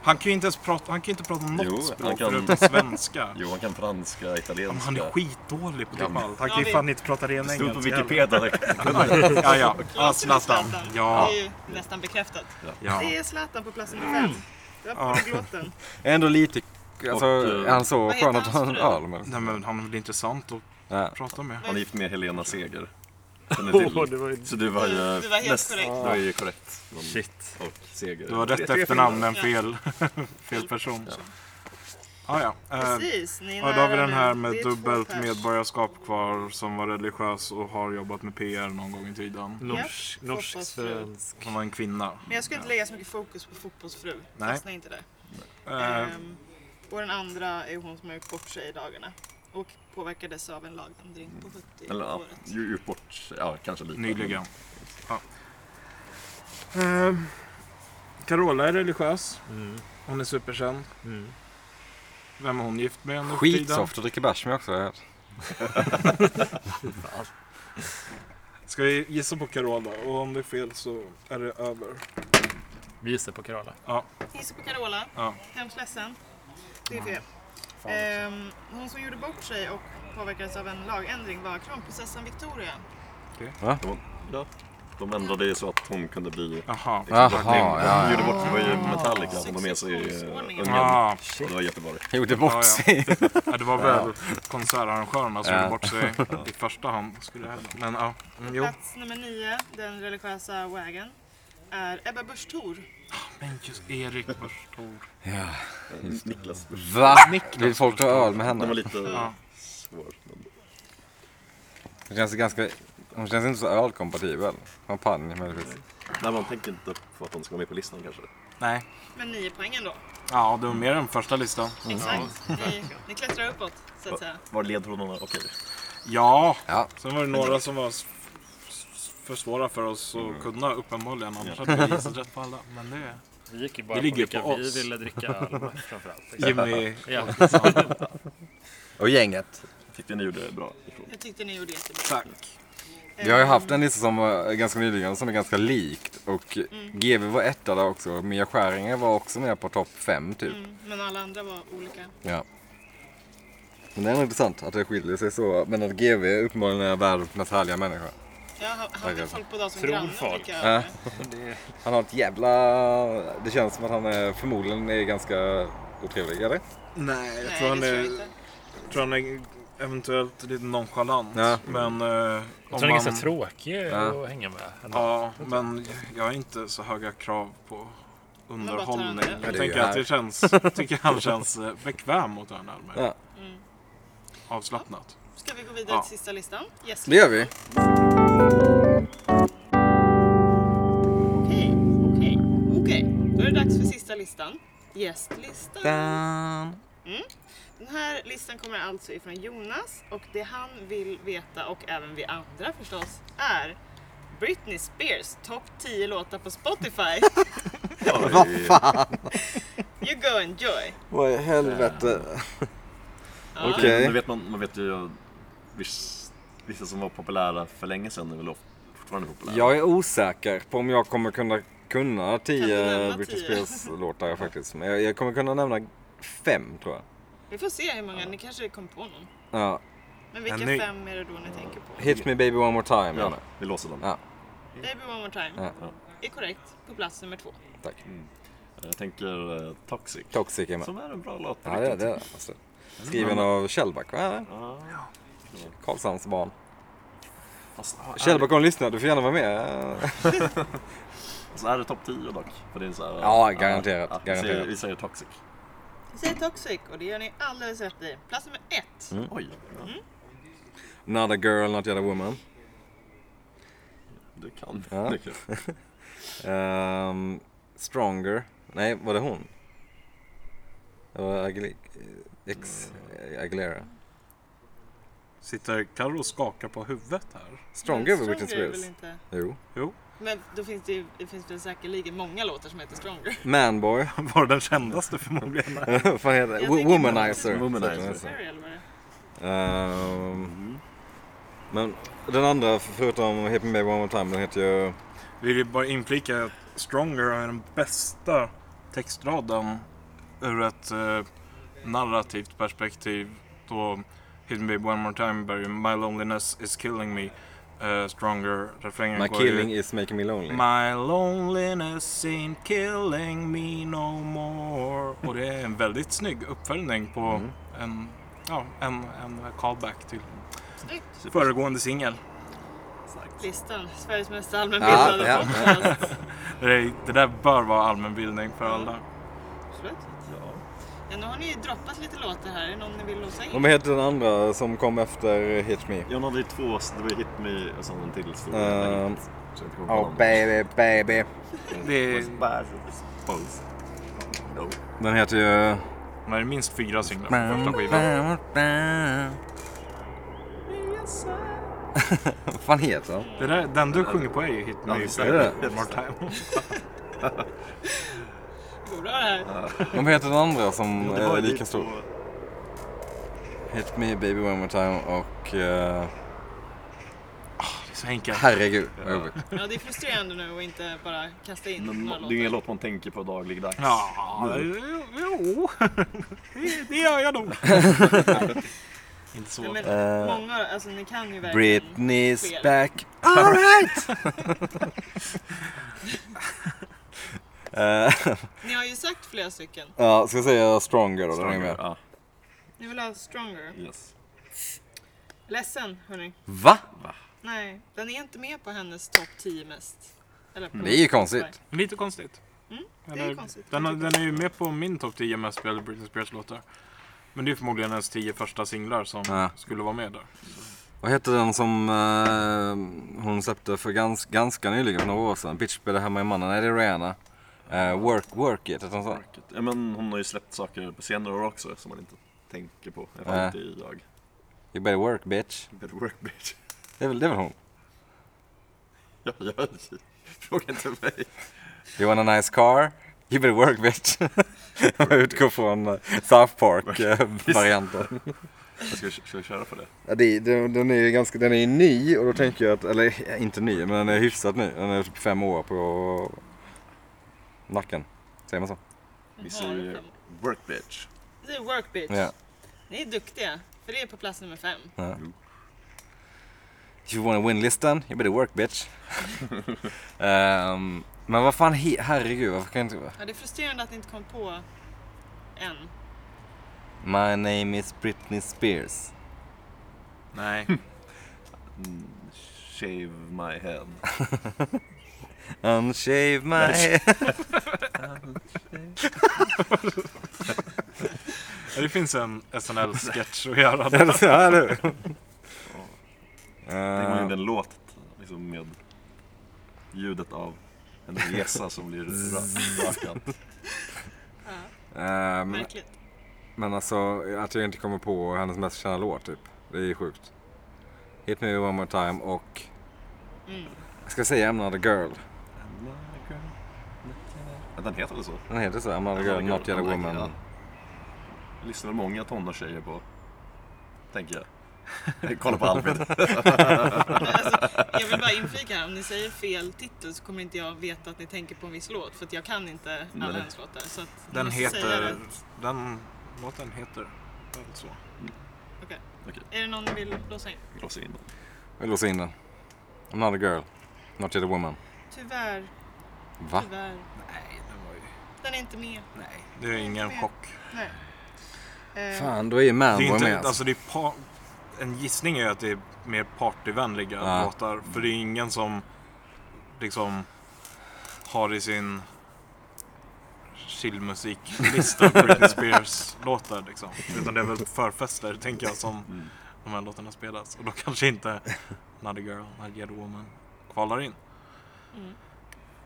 Han kan ju inte ens prata, han kan ju inte prata något
Jo, han
språk
kan-
förutom svenska.
Jo, han kan franska,
Ja, men
italienska.
han är skitdålig på typ
Ja, men-
allt. Han
Ja,
kan ju
vi-
fan inte prata ren
Det stod på
engelska.
Wikipedia.
heller. Ja, ja. Ja,
Låter det
Zlatan.
Zlatan?
Ja.
Det är ju nästan bekräftat.
ja. Mm.
Det är Zlatan på plats nummer fem. Det var
Ja.
polygloten.
Ändå lite... Alltså,
Och,
är han så
vad heter
skön att
hans
han...
fru?
Ja, men...
Nej men han är väl intressant att
Ja.
prata med.
Han är gift med Helena Seger. Känner
Åh,
till.
det var ju...
Så du var ju...
Du var helt korrekt.
Du var ju korrekt. Men-
Shit.
Och Seger.
Du har rätt
Det-
efternamn men
Ja.
fel, fel person. Ah, ja. Eh,
Precis, ni är
ja, då har vi
nära
den
nu.
här
Det
med
är två
dubbelt
pers.
medborgarskap kvar som var religiös och har jobbat med PR någon gång i tiden.
Norsk,
Ja,
norsk
fotbollsfru.
svensk.
Hon var en kvinna.
Men jag skulle inte lägga så mycket fokus på fotbollsfru.
Nej.
Fastna inte där.
Eh,
Ehm, och den andra är hon som har gjort bort sig i dagarna. Och påverkades av en lagändring på 70
Eller ja,
året.
ju- gjort bort, ja kanske lite.
nyligen. Ja. Eh, Carola är religiös.
Mm.
Hon är superkänd.
Mm.
Vem är hon gift med nu för tiden?
Skitsoft att dricka bärs med också. har jag hört.
Ska vi gissa på Carola? Och om det är fel så är det över.
Vi gissar på Carola.
Gissa på Carola.
Ja. Mm.
Hemskt ledsen. Det är fel.
Fan
Ehm, hon som gjorde bort sig och påverkades av en lagändring var kronprinsessan Victoria.
Ja. De ändrade ju så att hon kunde bli...
Jaha.
Jaha,
Hon
ja.
gjorde
ja.
bort, det var ju Metallica som tog med sig eh,
Successionsordningen.
ungen.
Ah,
Och Det var jättebra.
Gjorde
Ja, ja.
bort sig.
ja, det var väl konsertarrangörerna som
Ja.
gjorde bort sig i första hand. Skulle jag hävda. Men ja, mm, jo.
Plats nummer nio, den religiösa wagon, är Ebba Busch Thor.
Men just Erik
Mm.
Börstor.
Ja.
Eh, Niklas.
Va? Vill folk ta öl med
Den var
henne?
lite
Ja.
svår. men-
Hon känns ganska... Hon känns inte så ölkompatibel. Champagne möjligtvis.
Nej, man tänker inte på att hon ska vara med på listan kanske.
Nej.
Men nio poäng ändå.
Mm. Ja, det var mer än första listan.
Exakt. Ni, ni klättrar uppåt, så att säga.
Var ledtrådarna? Okej.
Ja.
Ja.
Sen var det några som var s- s- för svåra för oss att kunna uppenbarligen. Annars hade vi gissat rätt på alla. Men det...
Vi gick ju
Det
bara på
ligger
vilka
på
vi
oss.
ville dricka öl med framförallt.
Jimmy
Ja.
Och gänget.
Tyckte ni gjorde bra ifrån.
Jag tyckte ni gjorde jättebra.
Tack.
Eh, Vi har ju haft en lista som var ganska nyligen som är ganska likt. Och
Mm.
GV var etta där också. Mia Skäringer var också med på topp fem typ.
Mm, men alla andra var olika.
Ja. Men det är nog intressant att det skiljer sig så. Men att GV uppenbarligen är världens mest härliga människa.
Jag har
Tackar.
haft folk på dag som
Tror
grannar.
folk.
tycker
Ja.
jag.
Han har ett jävla... Det känns som att han är, förmodligen är ganska otrevlig, eller?
Nej, jag
Nej,
tror
det
han
tror jag
är,
inte.
tror han är eventuellt lite nonchalant.
Ja.
Men eh,
Jag
om
tror den är ganska
man-
tråkig
Ja.
att hänga med. ändå.
Ja, men jag har inte så höga krav på
Men
underhållning.
vad tar han
här?
Jag tänker att det känns, tycker han känns eh, bekväm mot den här med.
Ja.
Mm.
Avslappnat.
Ska vi gå vidare
Ja.
till sista listan? Yes.
Det gör vi.
Okej, okej, okej. Då är det dags för sista listan. Gästlistan.
Dan.
Den här listan kommer alltså ifrån Jonas och det han vill veta och även vi andra förstås är Britney Spears topp 10 låtar på Spotify.
Vad fan?
You go enjoy.
Vad i helvete.
Ja.
Okej.
Nu vet man, man vet ju viss- vissa som var populära för länge sedan är väl of- fortfarande populära.
Jag är osäker på om jag kommer kunna kunna
Kan du
tio
nämna
British
tio?
Spears-låtar faktiskt. Men jag, jag kommer kunna nämna fem tror jag.
Vi får se hur många, ni kanske kom på någon.
Ja.
Men vilka
Ja, nu-
fem är det då ni tänker på?
Hit me baby one more time.
Ja,
Ja.
vi låser dem.
Ja.
Baby One More Time
Ja.
är korrekt på plats nummer två.
Tack.
Mm. Jag tänker eh, Toxic.
Toxic är med.
Som är en bra låt. på
Ja, det är
riktigt.
det. är det. Alltså.
Mm.
Skriven av Kjellback, va?
Ja.
Karlshamns barn.
Fast,
Kjellback om du lyssnar, du får gärna vara med.
Så är det topp 10 dock. För det är så här, eh,
Ja, garanterat,
vi säger-
garanterat.
Vi säger Toxic.
Vi säger Toxic och det gör ni alldeles rätt i. Plats nummer ett.
Mm.
Oj, ja,
Not a girl, not yet a woman.
du kan.
Ja.
Du kan.
Ehm, stronger. Nej, var det hon? Det var Agli- Ex Aguilera.
Sitter Carro och skakar på huvudet här?
Stronger
Men
var Britney
Stronger är
Spears.
väl inte-
Jo.
Men då finns det, ju, det finns väl säkerligen många låtar som heter Stronger.
Manboy.
Var den kändaste förmodligen.
Vad fan heter det?
tänker
Wo-
på-
Womanizer.
Womanizer.
Så.
Perry, eller vad det är.
Ehm,
Mm,
men den andra, förutom Hit Me Baby One More Time, den heter ju...
Vi vill bara inflika att Stronger är den bästa textraden ur ett eh, narrativt perspektiv. Då Hit Me One More Time börjar ju, My Loneliness Is Killing Me. eh, stronger, refrängen
My
går
killing
ju,
is making me lonely.
My loneliness ain't killing me no more. Och det är en väldigt snygg uppföljning på
Mm.
en, ja, en, en callback till
Snyggt.
föregående singel.
Listan. Sveriges mest allmänbildade
Ja, ja,
podcast.
Det, det där bör vara allmänbildning för alla.
Absolut.
Ja.
Ja, nu har ni ju droppat lite låtar här. Är det någon ni vill låsa in?
Vad heter den andra som kom efter Hit Me?
Jag hade ju två, så det var ju Hit Me och sen en till stor
Ehm,
hit. Så jag inte kommer på
Oh
namnet.
baby, baby.
Det är,
Pulse. No.
Den heter ju...
Man är minst fyra singlar på första skivan.
Vad fan heter den?
Det där, den du sjunger på är ju Hit Me
Ja,
Baby
visst
är det.
One More Time.
Borde ha det här.
Men Vad heter den andra som
Jo, det var
är
ju
Eh, lika
två-
stor? Hit Me Baby One More Time och... eh,
Det är så enkelt.
herregud vad jobbigt.
Ja, det är frustrerande nu att inte bara kasta in
Men
några
Det är ju ingen låt man tänker på dagligdags.
Ja, jo. Det, det gör jag nog. Inte så.
Nej, men
Eh,
många, alltså ni kan ju verkligen.
Britney's
Fler.
back. Alright!
Ni har ju sagt flera stycken.
Eh, ja, ska jag säga Stronger då? Stronger. Den är med.
Ja,
Ni vill ha Stronger.
yes.
Ledsen, hörni.
Va?
Nej, den är inte med på hennes topp 10 mest. Eller på
Det är ju konstigt.
Lite konstigt.
Mm, Det är ju konstigt.
Den, har- den är ju med på min topp 10 mest spelade Britney Spears-låtar. Men det är förmodligen hennes 10 första singlar som
Ja.
skulle vara med där.
Vad heter den som eh, hon släppte för gans, ganska nyligen, för några år sedan? Bitch better have my money. Nej, det är Rihanna. Eh, work, work it, heter den så?
Ja, men hon har ju släppt saker på senare år också som man inte tänker på. Jag
Nej.
äh. inte idag.
You better work bitch.
Better work bitch.
Det är väl, det är väl hon?
Ja, ja. Fråga inte mig.
You want a nice car? You better work bitch. Jag utgår från eh, South eh, Park-varianten.
Jag ska, ska jag köra på det?
Ja, det, den, den är ju ganska, den är ju ny och då tänker jag att, eller ja, inte ny, men den är hyfsat ny. Den är typ fem år på nacken. Säger man så?
Vi
Jaha, det är
säger
fem.
work bitch.
Det är work bitch.
Ja.
Ni är duktiga, för det är på plats nummer fem.
If you wanna win listan, you better work bitch. Ehm, men vad fan, he, herregud, varför kan jag inte...
Ja, det är frustrerande att ni inte kom på än.
My name is Britney Spears.
Nej.
Mm, Shave my head.
Unshave my head.
Ja, Det finns en SNL-sketch att göra där.
Eller så, ja, eller hur?
Tänk om man gjorde
Ehm,
en låt liksom, med ljudet av en resa som blir ra- rakat.
ehm,
Märkligt.
Men alltså att jag inte kommer på hennes mest kända låt typ. Det är ju sjukt. Hit me one more time och...
Mm.
Jag ska säga I'm not a girl.
Ja, Den heter väl så?
Den heter så. I'm not a
I'm
girl, not yet a
like,
woman.
ja. Det Lyssnar väl många tonårstjejer på, tänker jag. jag. Kolla på Alfred.
Alltså, Jag vill bara inflika här, om ni säger fel titel så kommer inte jag veta att ni tänker på en viss låt. För att jag kan inte alla
Nej.
hennes låtar. Så att ni
Den
måste säga
heter...
rätt.
Den låten heter väl så.
Okej.
Okej.
Är det någon ni vill låsa in?
Låsa in den.
Vi låser in den. I'm not a girl, not yet a woman.
Tyvärr,
Va?
tyvärr.
Nej, den var ju...
Den är inte med.
Nej. Det är ingen chock.
Nej. Eh,
Fan, då är ju
Det är
Manboy med
inte...
alltså.
Alltså det är pa... En gissning är ju att det är mer partyvänliga
Ja.
låtar. För det är ingen som liksom har i sin chillmusiklista Britney Spears-låtar liksom. Utan det är väl förfester, tänker jag, som
Mm.
de här låtarna spelas. Och då kanske inte Not a Girl, Not Yet a Woman kvalar in.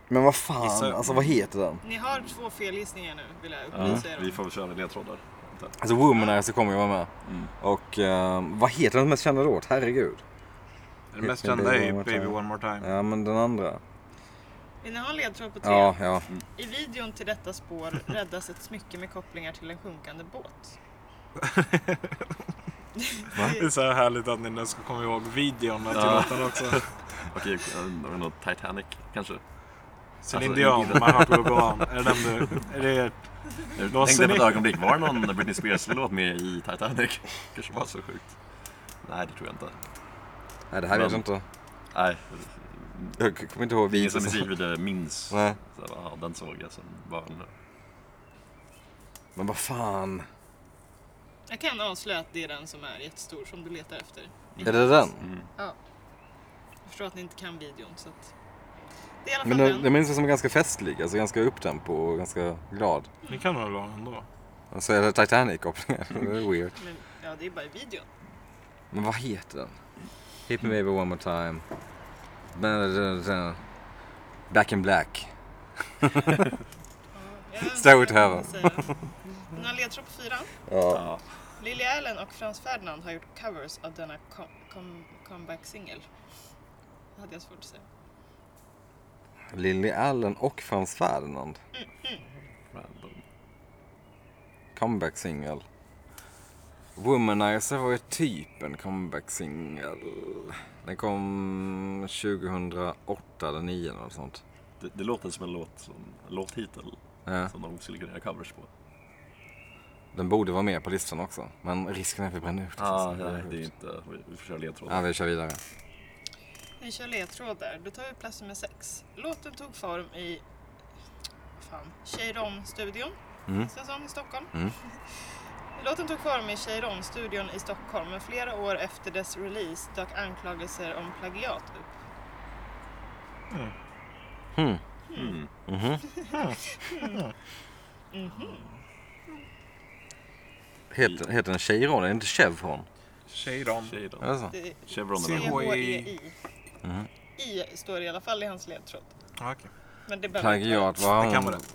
Men vad fan,
Gissa.
alltså vad heter den?
ni har två felgissningar nu, vill jag
Ja,
upplysa er
vi
om.
får väl köra ledtrådar.
Alltså Womanizer kommer ju vara med.
Mm.
Och ehm, vad heter den mest kända låt? Herregud.
Den mest
Hit me,
kända
baby,
är
one more
Baby
time.
One More Time.
Ja, men den andra.
Vill ni ha en ledtråd på tre?
Ja, ja.
I videon till detta spår räddas ett smycke med kopplingar till en sjunkande båt.
Det är så här härligt att ni nu ska komma ihåg videon till
Ja.
låten också.
Okej, eh, jag vet inte, Titanic kanske?
Alltså,
Céline Dion, My Heart Will Go On. Är det den du... Är det ert?
Jag
Låser
tänkte på
ni?
ett ögonblick, var det någon Britney Spears-låt med i Titanic? kanske var så sjukt. Nej, det tror jag inte.
Nej, det här vet
Men-
jag inte.
Nej,
Jag kommer inte ihåg
ingen som
videon.
musikvideo minns. Så,
Nej.
här, ja, den såg jag som barn.
Men vad fan.
Jag kan avslöja att det är den som är jättestor som du letar efter.
Är det den?
Mm.
Jag förstår att ni inte kan videon så att... Det är i alla fall
Men
den.
den, den minns jag som ganska festlig, alltså ganska upptempo och ganska glad.
Det kan väl vara ändå?
Och så är det Titanic-kopplingen. Det är weird.
Men, ja, det är bara i videon.
Men vad heter den? Hit me baby one more time. eh, Back in black.
Jag vet inte
Stairway
vad
to
jag
heaven.
ska säga. Några ledtråd på fyran.
Ja.
Ja.
Lily Allen och Frans Ferdinand har gjort covers av denna com- com- comeback-singel. Det hade jag svårt att säga.
Lily Allen och Frans Ferdinand.
Random.
Comeback singel. Womanizer var ju typ en comeback singel. Den kom 2008 eller 2009 eller något sånt.
Det, det låter som en låt som en låttitel
Ja,
som de skulle kunna göra covers på.
den borde vara med på listan också. Men risken är att vi bränner ut den.
Ah, nej, det är inte... Vi, vi får köra ledtrådar.
ja, vi kör vidare.
Vi kör ledtrådar. Då tar vi plats nummer sex. Låten tog form i fan, Cheiron-studion.
Mm.
Säsong i Stockholm.
Mm.
Låten tog form i Cheiron-studion i Stockholm men flera år efter dess release dök anklagelser om plagiat upp.
Hmm.
Mm.
Mhm. Mm.
Mhm.
Heter, heter den Cheiron? Är det inte Chevron?
Cheiron.
Tjej då.
Är det E så?
Det är
Chevron
Se
eller
ihåg-
C-H-E-I.
Mhm.
Mm. I står i alla fall i hans ledtråd.
Ah, okej.
Men det behöver inte vara-
Plagiat, vad har
Det kan vara
hon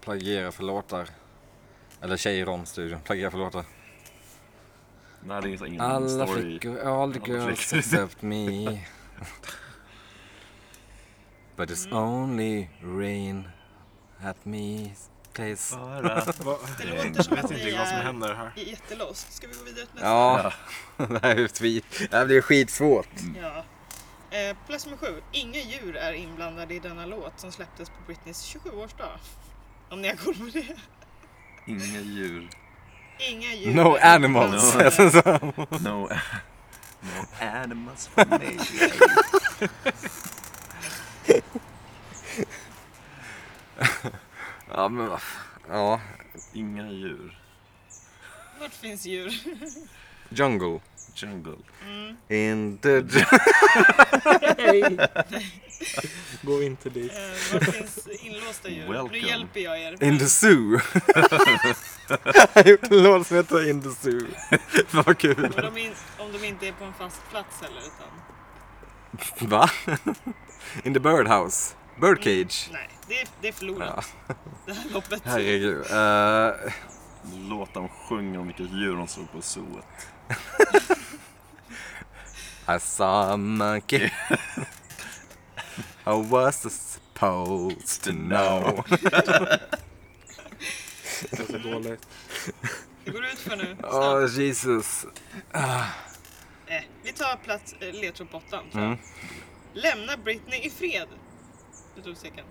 plagierat för låtar? Eller Cheiron-studion, plagierat för låtar.
Nej, det är så ingen
Mm, Alla
story.
flickor, all the
Alla
girls
flickor.
except me. But it's
Mm.
only rain at me place.
Bara.
Va-
Det
Nej,
låter
jag
som
Jag
att
vet
vi
inte vad som
är
händer här.
jättelost. Ska vi gå vidare till nästa?
Ja, det här är ju skit- det här blir skitsvårt.
Ja. Eh, plats nummer sju. Inga djur är inblandade i denna låt som släpptes på Britneys 27-årsdag. Om ni har koll på det.
Inga djur.
Inga djur.
No
är
animals.
inblandade.
No, no animals for me.
ja, men vad fan. Ja,
Inga djur.
Vart finns djur?
jungle.
Jungle.
In the jungle.
Gå inte dit.
Eh, vart finns inlåsta djur?
Welcome.
Nu hjälper jag er.
In the zoo. Jag har gjort en låt som heter In the zoo. vad kul.
Men de är in, om de inte är på en fast plats heller. Utan,
Va? In the birdhouse. Birdcage.
nej, det är, det är förlorat. Det här loppet.
Herregud. Eh,
Låt dem sjunga om vilka djur de såg på zooet.
I saw a monkey. I was supposed to know.
Det är så dåligt.
Det går ut för nu. Snabbt.
Oh Jesus.
Eh, vi tar plats eh, ledtråd på åttan. tror jag.
Mm.
Lämna Britney i fred. Utropstecken.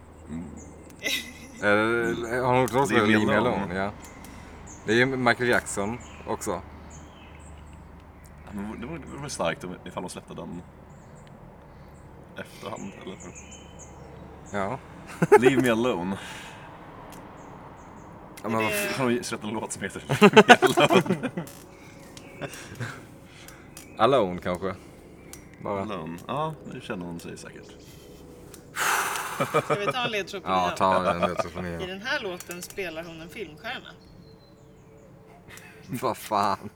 Eh, har hon gjort något som heter
Leave me
Leave Me
alone.
Alone? Ja. Det är ju Michael Jackson också.
Ja, men Det vore, det vore starkt om, ifall de släppte den efterhand. Eller?
Ja.
Leave me alone.
Ja, Men vad
Det-
Har de släppt en låt som heter Leave me alone?
Alone kanske. Bara.
alone. Ja, nu känner hon sig säkert.
Ska vi ta en ledtråd på
Ja,
nian?
ta den lite från
I
igen.
den här låten spelar hon en filmstjärna.
Vad fan.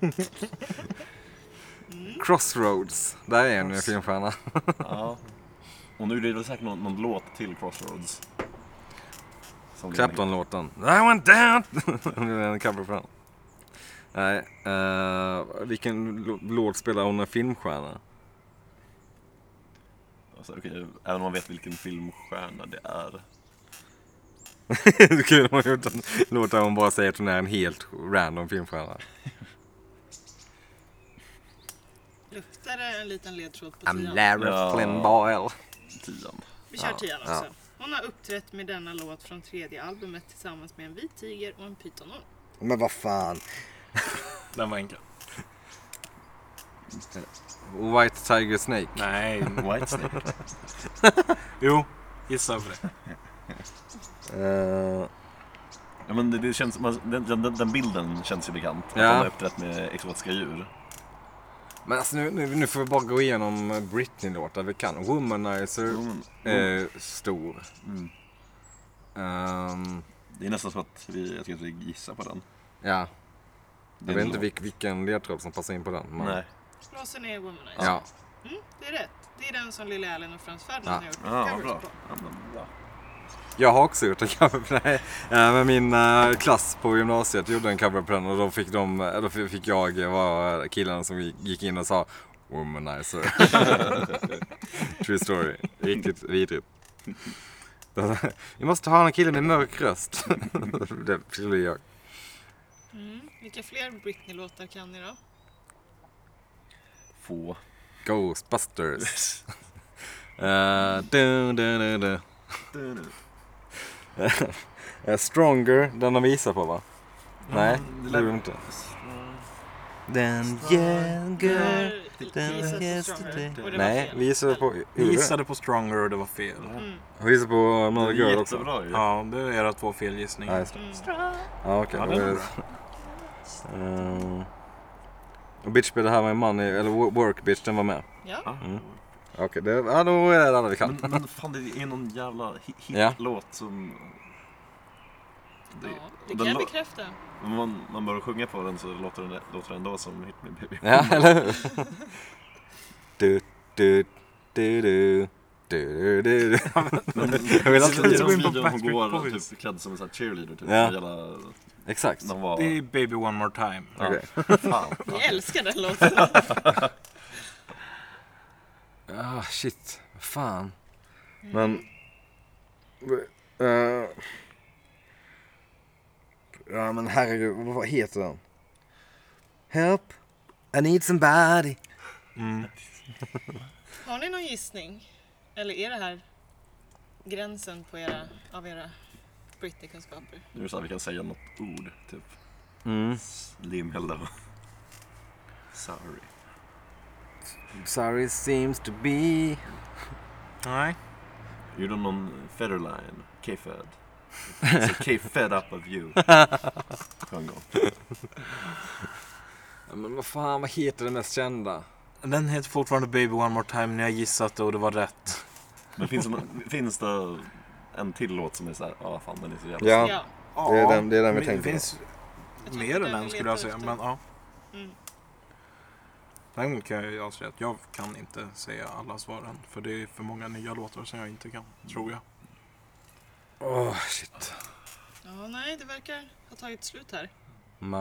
Crossroads. Där är en filmstjärna.
Ja. Och nu är det väl säkert någon, någon låt till Crossroads. Som det är-
Clapton-låten. I went down! Nu är det en cover på den. Nej, eh, vilken lå- låt spelar hon en filmstjärna?
Alltså, okej, även om man vet vilken filmstjärna det är.
Det är Kul om hon gjort en låt där hon bara säger att hon är en helt random filmstjärna.
Luktar det en liten ledtråd på
I'm
tian?
Lara
Ja.
Flynn Boyle.
Tian.
Vi kör
Ja,
tian också.
ja.
Hon har uppträtt med denna låt från tredje albumet tillsammans med en vit tiger och en pytonon.
Men vad fan.
Den var enkel.
White Tiger Snake.
Nej.
Whitesnake.
Jo, gissa på det.
Eh,
Ja, men det, det känns, man, den, den, den bilden känns ju bekant. Att
Ja.
han har uppträtt med exotiska djur.
men alltså nu, nu, nu får vi bara gå igenom Britney-låtar vi kan. Womanizer
Mm.
är stor.
Mm.
Ehm,
Det är nästan som att vi, jag tycker att vi gissar på den.
ja, Jag vet inte vilk, vilken ledtråd som passar in på den. Men...
Nej.
Blåser ner Womanizer.
Ja.
Mm, det är rätt. Det är den som Lily Allen och Frans Ferdinand
Ja.
har gjort
Ja,
covers
bra.
på.
Ja, men, bra.
Jag har också gjort en cover på den. Men min eh, klass på gymnasiet gjorde en cover på den och då fick, de, eh, då fick jag vara killen som gick- gick in och sa Womanizer. True story. Riktigt vidrigt. Vi måste ha en kille med mörk röst. Det skulle jag.
Mm. Vilka fler Britney-låtar kan ni då?
Få.
Ghostbusters. Eh, dun, dun, dun, dun. Eh, Stronger, den de visar på va? Nej, det gjorde de inte. Den younger
När Jesus is stronger. Och det var
Nej,
fel.
vi gissade på...
Vi
Gissade.
gissade på Stronger och det var fel.
Mm.
Vi gissade på Another
Det är
Girl också.
jättebra ju.
Ja, det är era två
Ja,
felgissningar.
just det.
Mm.
Ja, okej.
Ja,
då
den
är
var
det- Ehm, Och eh, bitch be det här med money, eller wo- work bitch, den var med.
Ja.
Mm. Okej, det, ja, då är det alla vi kan.
Men, men fan, det är någon jävla hi-
Ja.
hitlåt som... Det,
ja, det
den
kan jag
lå-
bekräfta.
Om man, man börjar sjunga på den så låter den, låter den ändå som Hit Me Baby.
Ja, eller hur? Du, du, du, du. Du, du, du, du. Jag vill
Det är
alltid...
den videon hon
Backstreet
går
Boys.
typ klädd som en sån här cheerleader typ.
Ja.
Ja. Jävla,
Exakt.
när hon var...
Det är Baby One More Time.
Okej.
Fan.
Jag älskar den låten.
Ah, shit. Fan. Men... Eh, ja, men herregud. Vad heter den? Help. I need somebody.
Har ni någon gissning? Eller är det här gränsen på era, av era Britney-kunskaper?
Nu är det så här, vi kan säga något ord typ.
Mm.
Limhällda. Sorry.
Sorry seems to be...
Nej.
Gjorde hon någon Federline? K-Fed? Alltså, K-Fed up of you. Sjöng hon.
Ja, Men vad fan, vad heter den mest kända?
Den heter fortfarande Baby One More Time när jag gissat det och det var rätt.
Men finns det, någon- finns det en till låt som är så här, ja fan den är så jävla...
Ja,
Ja,
Det är den- det är den vi
men
tänker på.
finns
Jag tror
mer
inte
än
den
en
vi
skulle jag
letar
säga.
efter.
Men, ja.
Mm.
Däremot kan jag ju avslöja att jag kan inte säga alla svaren. För det är för många nya låtar som jag inte kan, tror jag.
Åh, shit.
Ja, nej, det verkar ha tagit slut här.
My...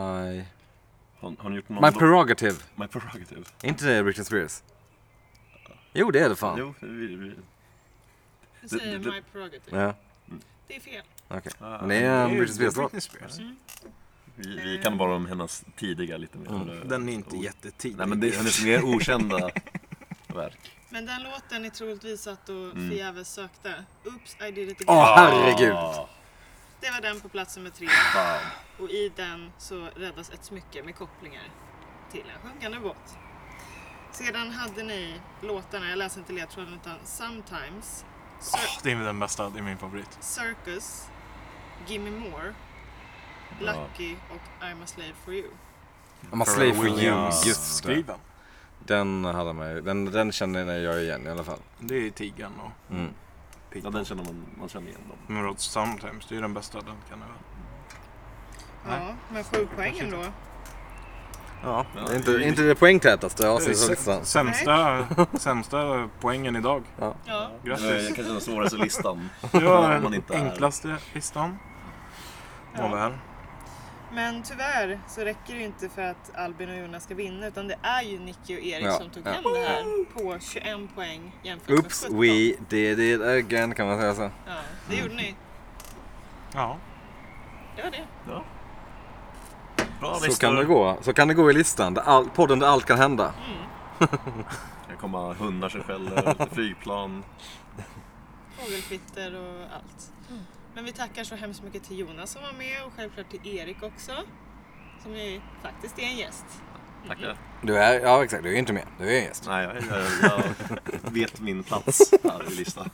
Har, har ni gjort någon
My
låt?
prerogative.
My prerogative.
Är inte det Britney Spears? Jo, det är det fan.
Jo, vi, vi,
Du
Det-
säger
det-
My Prerogative.
Ja,
Det är fel.
okej.
Ah,
Men det är en
Det är
Britney Spears-låt.
Britney Spears.
Mm.
vi, vi kan bara om hennes tidiga lite mer.
Mm.
Den är inte
Oh.
jättetidig.
Nej men det är hennes mer okända verk.
Men den låten är troligtvis att och
Mm.
förgäves sökte. Oops, I did it again.
Åh, herregud.
Ah,
Det var den på plats nummer tre.
fan.
Och i den så räddas ett smycke med kopplingar till en sjunkande båt. Sedan hade ni låtarna, jag läser inte ledtråden utan Sometimes, Cir-
Åh, det är den bästa, det är min favorit.
Circus, Gimme More, Lucky och I'm a slave for you.
I'm a slave for you.
Williams
Just det.
skriven.
Den hade man ju. Den, den känner jag igen i alla fall.
Det är Tigern och
Mm.
Ja, den känner man, man känner igen dem.
Men Rod Sometimes, det är den bästa den kan jag väl.
Ja, men sju poäng ändå.
Ja,
Ja,
det är inte,
det är-
inte det poängtätaste
Det är
avsnittet
sä-
som listan.
sämsta, sämsta poängen idag.
Ja,
Det
Grattis.
är kanske den svåraste listan.
Det var
Om man
den
inte är-
enklaste listan.
Ja.
Nåväl.
men tyvärr så räcker det ju inte för att Albin och Jonas ska vinna utan det är ju Nicky och Erik
Ja,
som tog
ja.
hem det här på 21 poäng jämfört
Oops,
med 17.
we did it again kan man säga så.
Ja, det gjorde ni.
Ja.
Det var det.
Ja. Bra
Så
listor.
kan det gå. Så kan det gå i listan. Där all, podden där allt kan hända.
Det kan komma hundar som skäller, lite flygplan.
fågelkvitter och allt. Men vi tackar så hemskt mycket till Jonas som var med och självklart till Erik också. Som ju faktiskt är en gäst.
Tackar.
Du är, ja exakt, du är inte med. Du är en gäst.
Nej, jag, jag, jag vet min plats här i listan.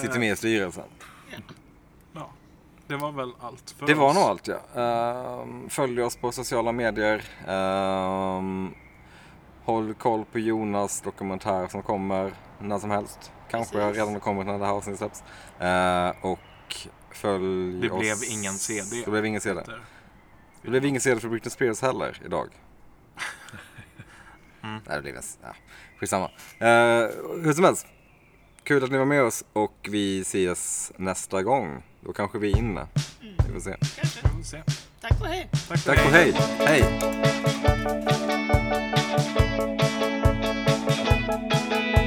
Sitter med i styrelsen.
ja. Det var väl allt för
Det var
oss.
nog allt ja. Ehm, följ oss på sociala medier. Ehm, håll koll på Jonas dokumentär som kommer när som helst. Kanske
Precis.
redan har kommit när det här avsnittet släpps. Ehm, och följ
Det
oss.
blev ingen CD.
Det blev ingen CD. Det blev ingen sedel för Britney Spears heller idag.
Mm.
Nej, det blev det. Ja, skitsamma. Eh, hur som helst. Kul att ni var med oss och vi ses nästa gång. Då kanske vi är inne. Vi får se.
Kanske.
Vi får se.
Tack och hej!
Tack och hej! Hej!
Thank you.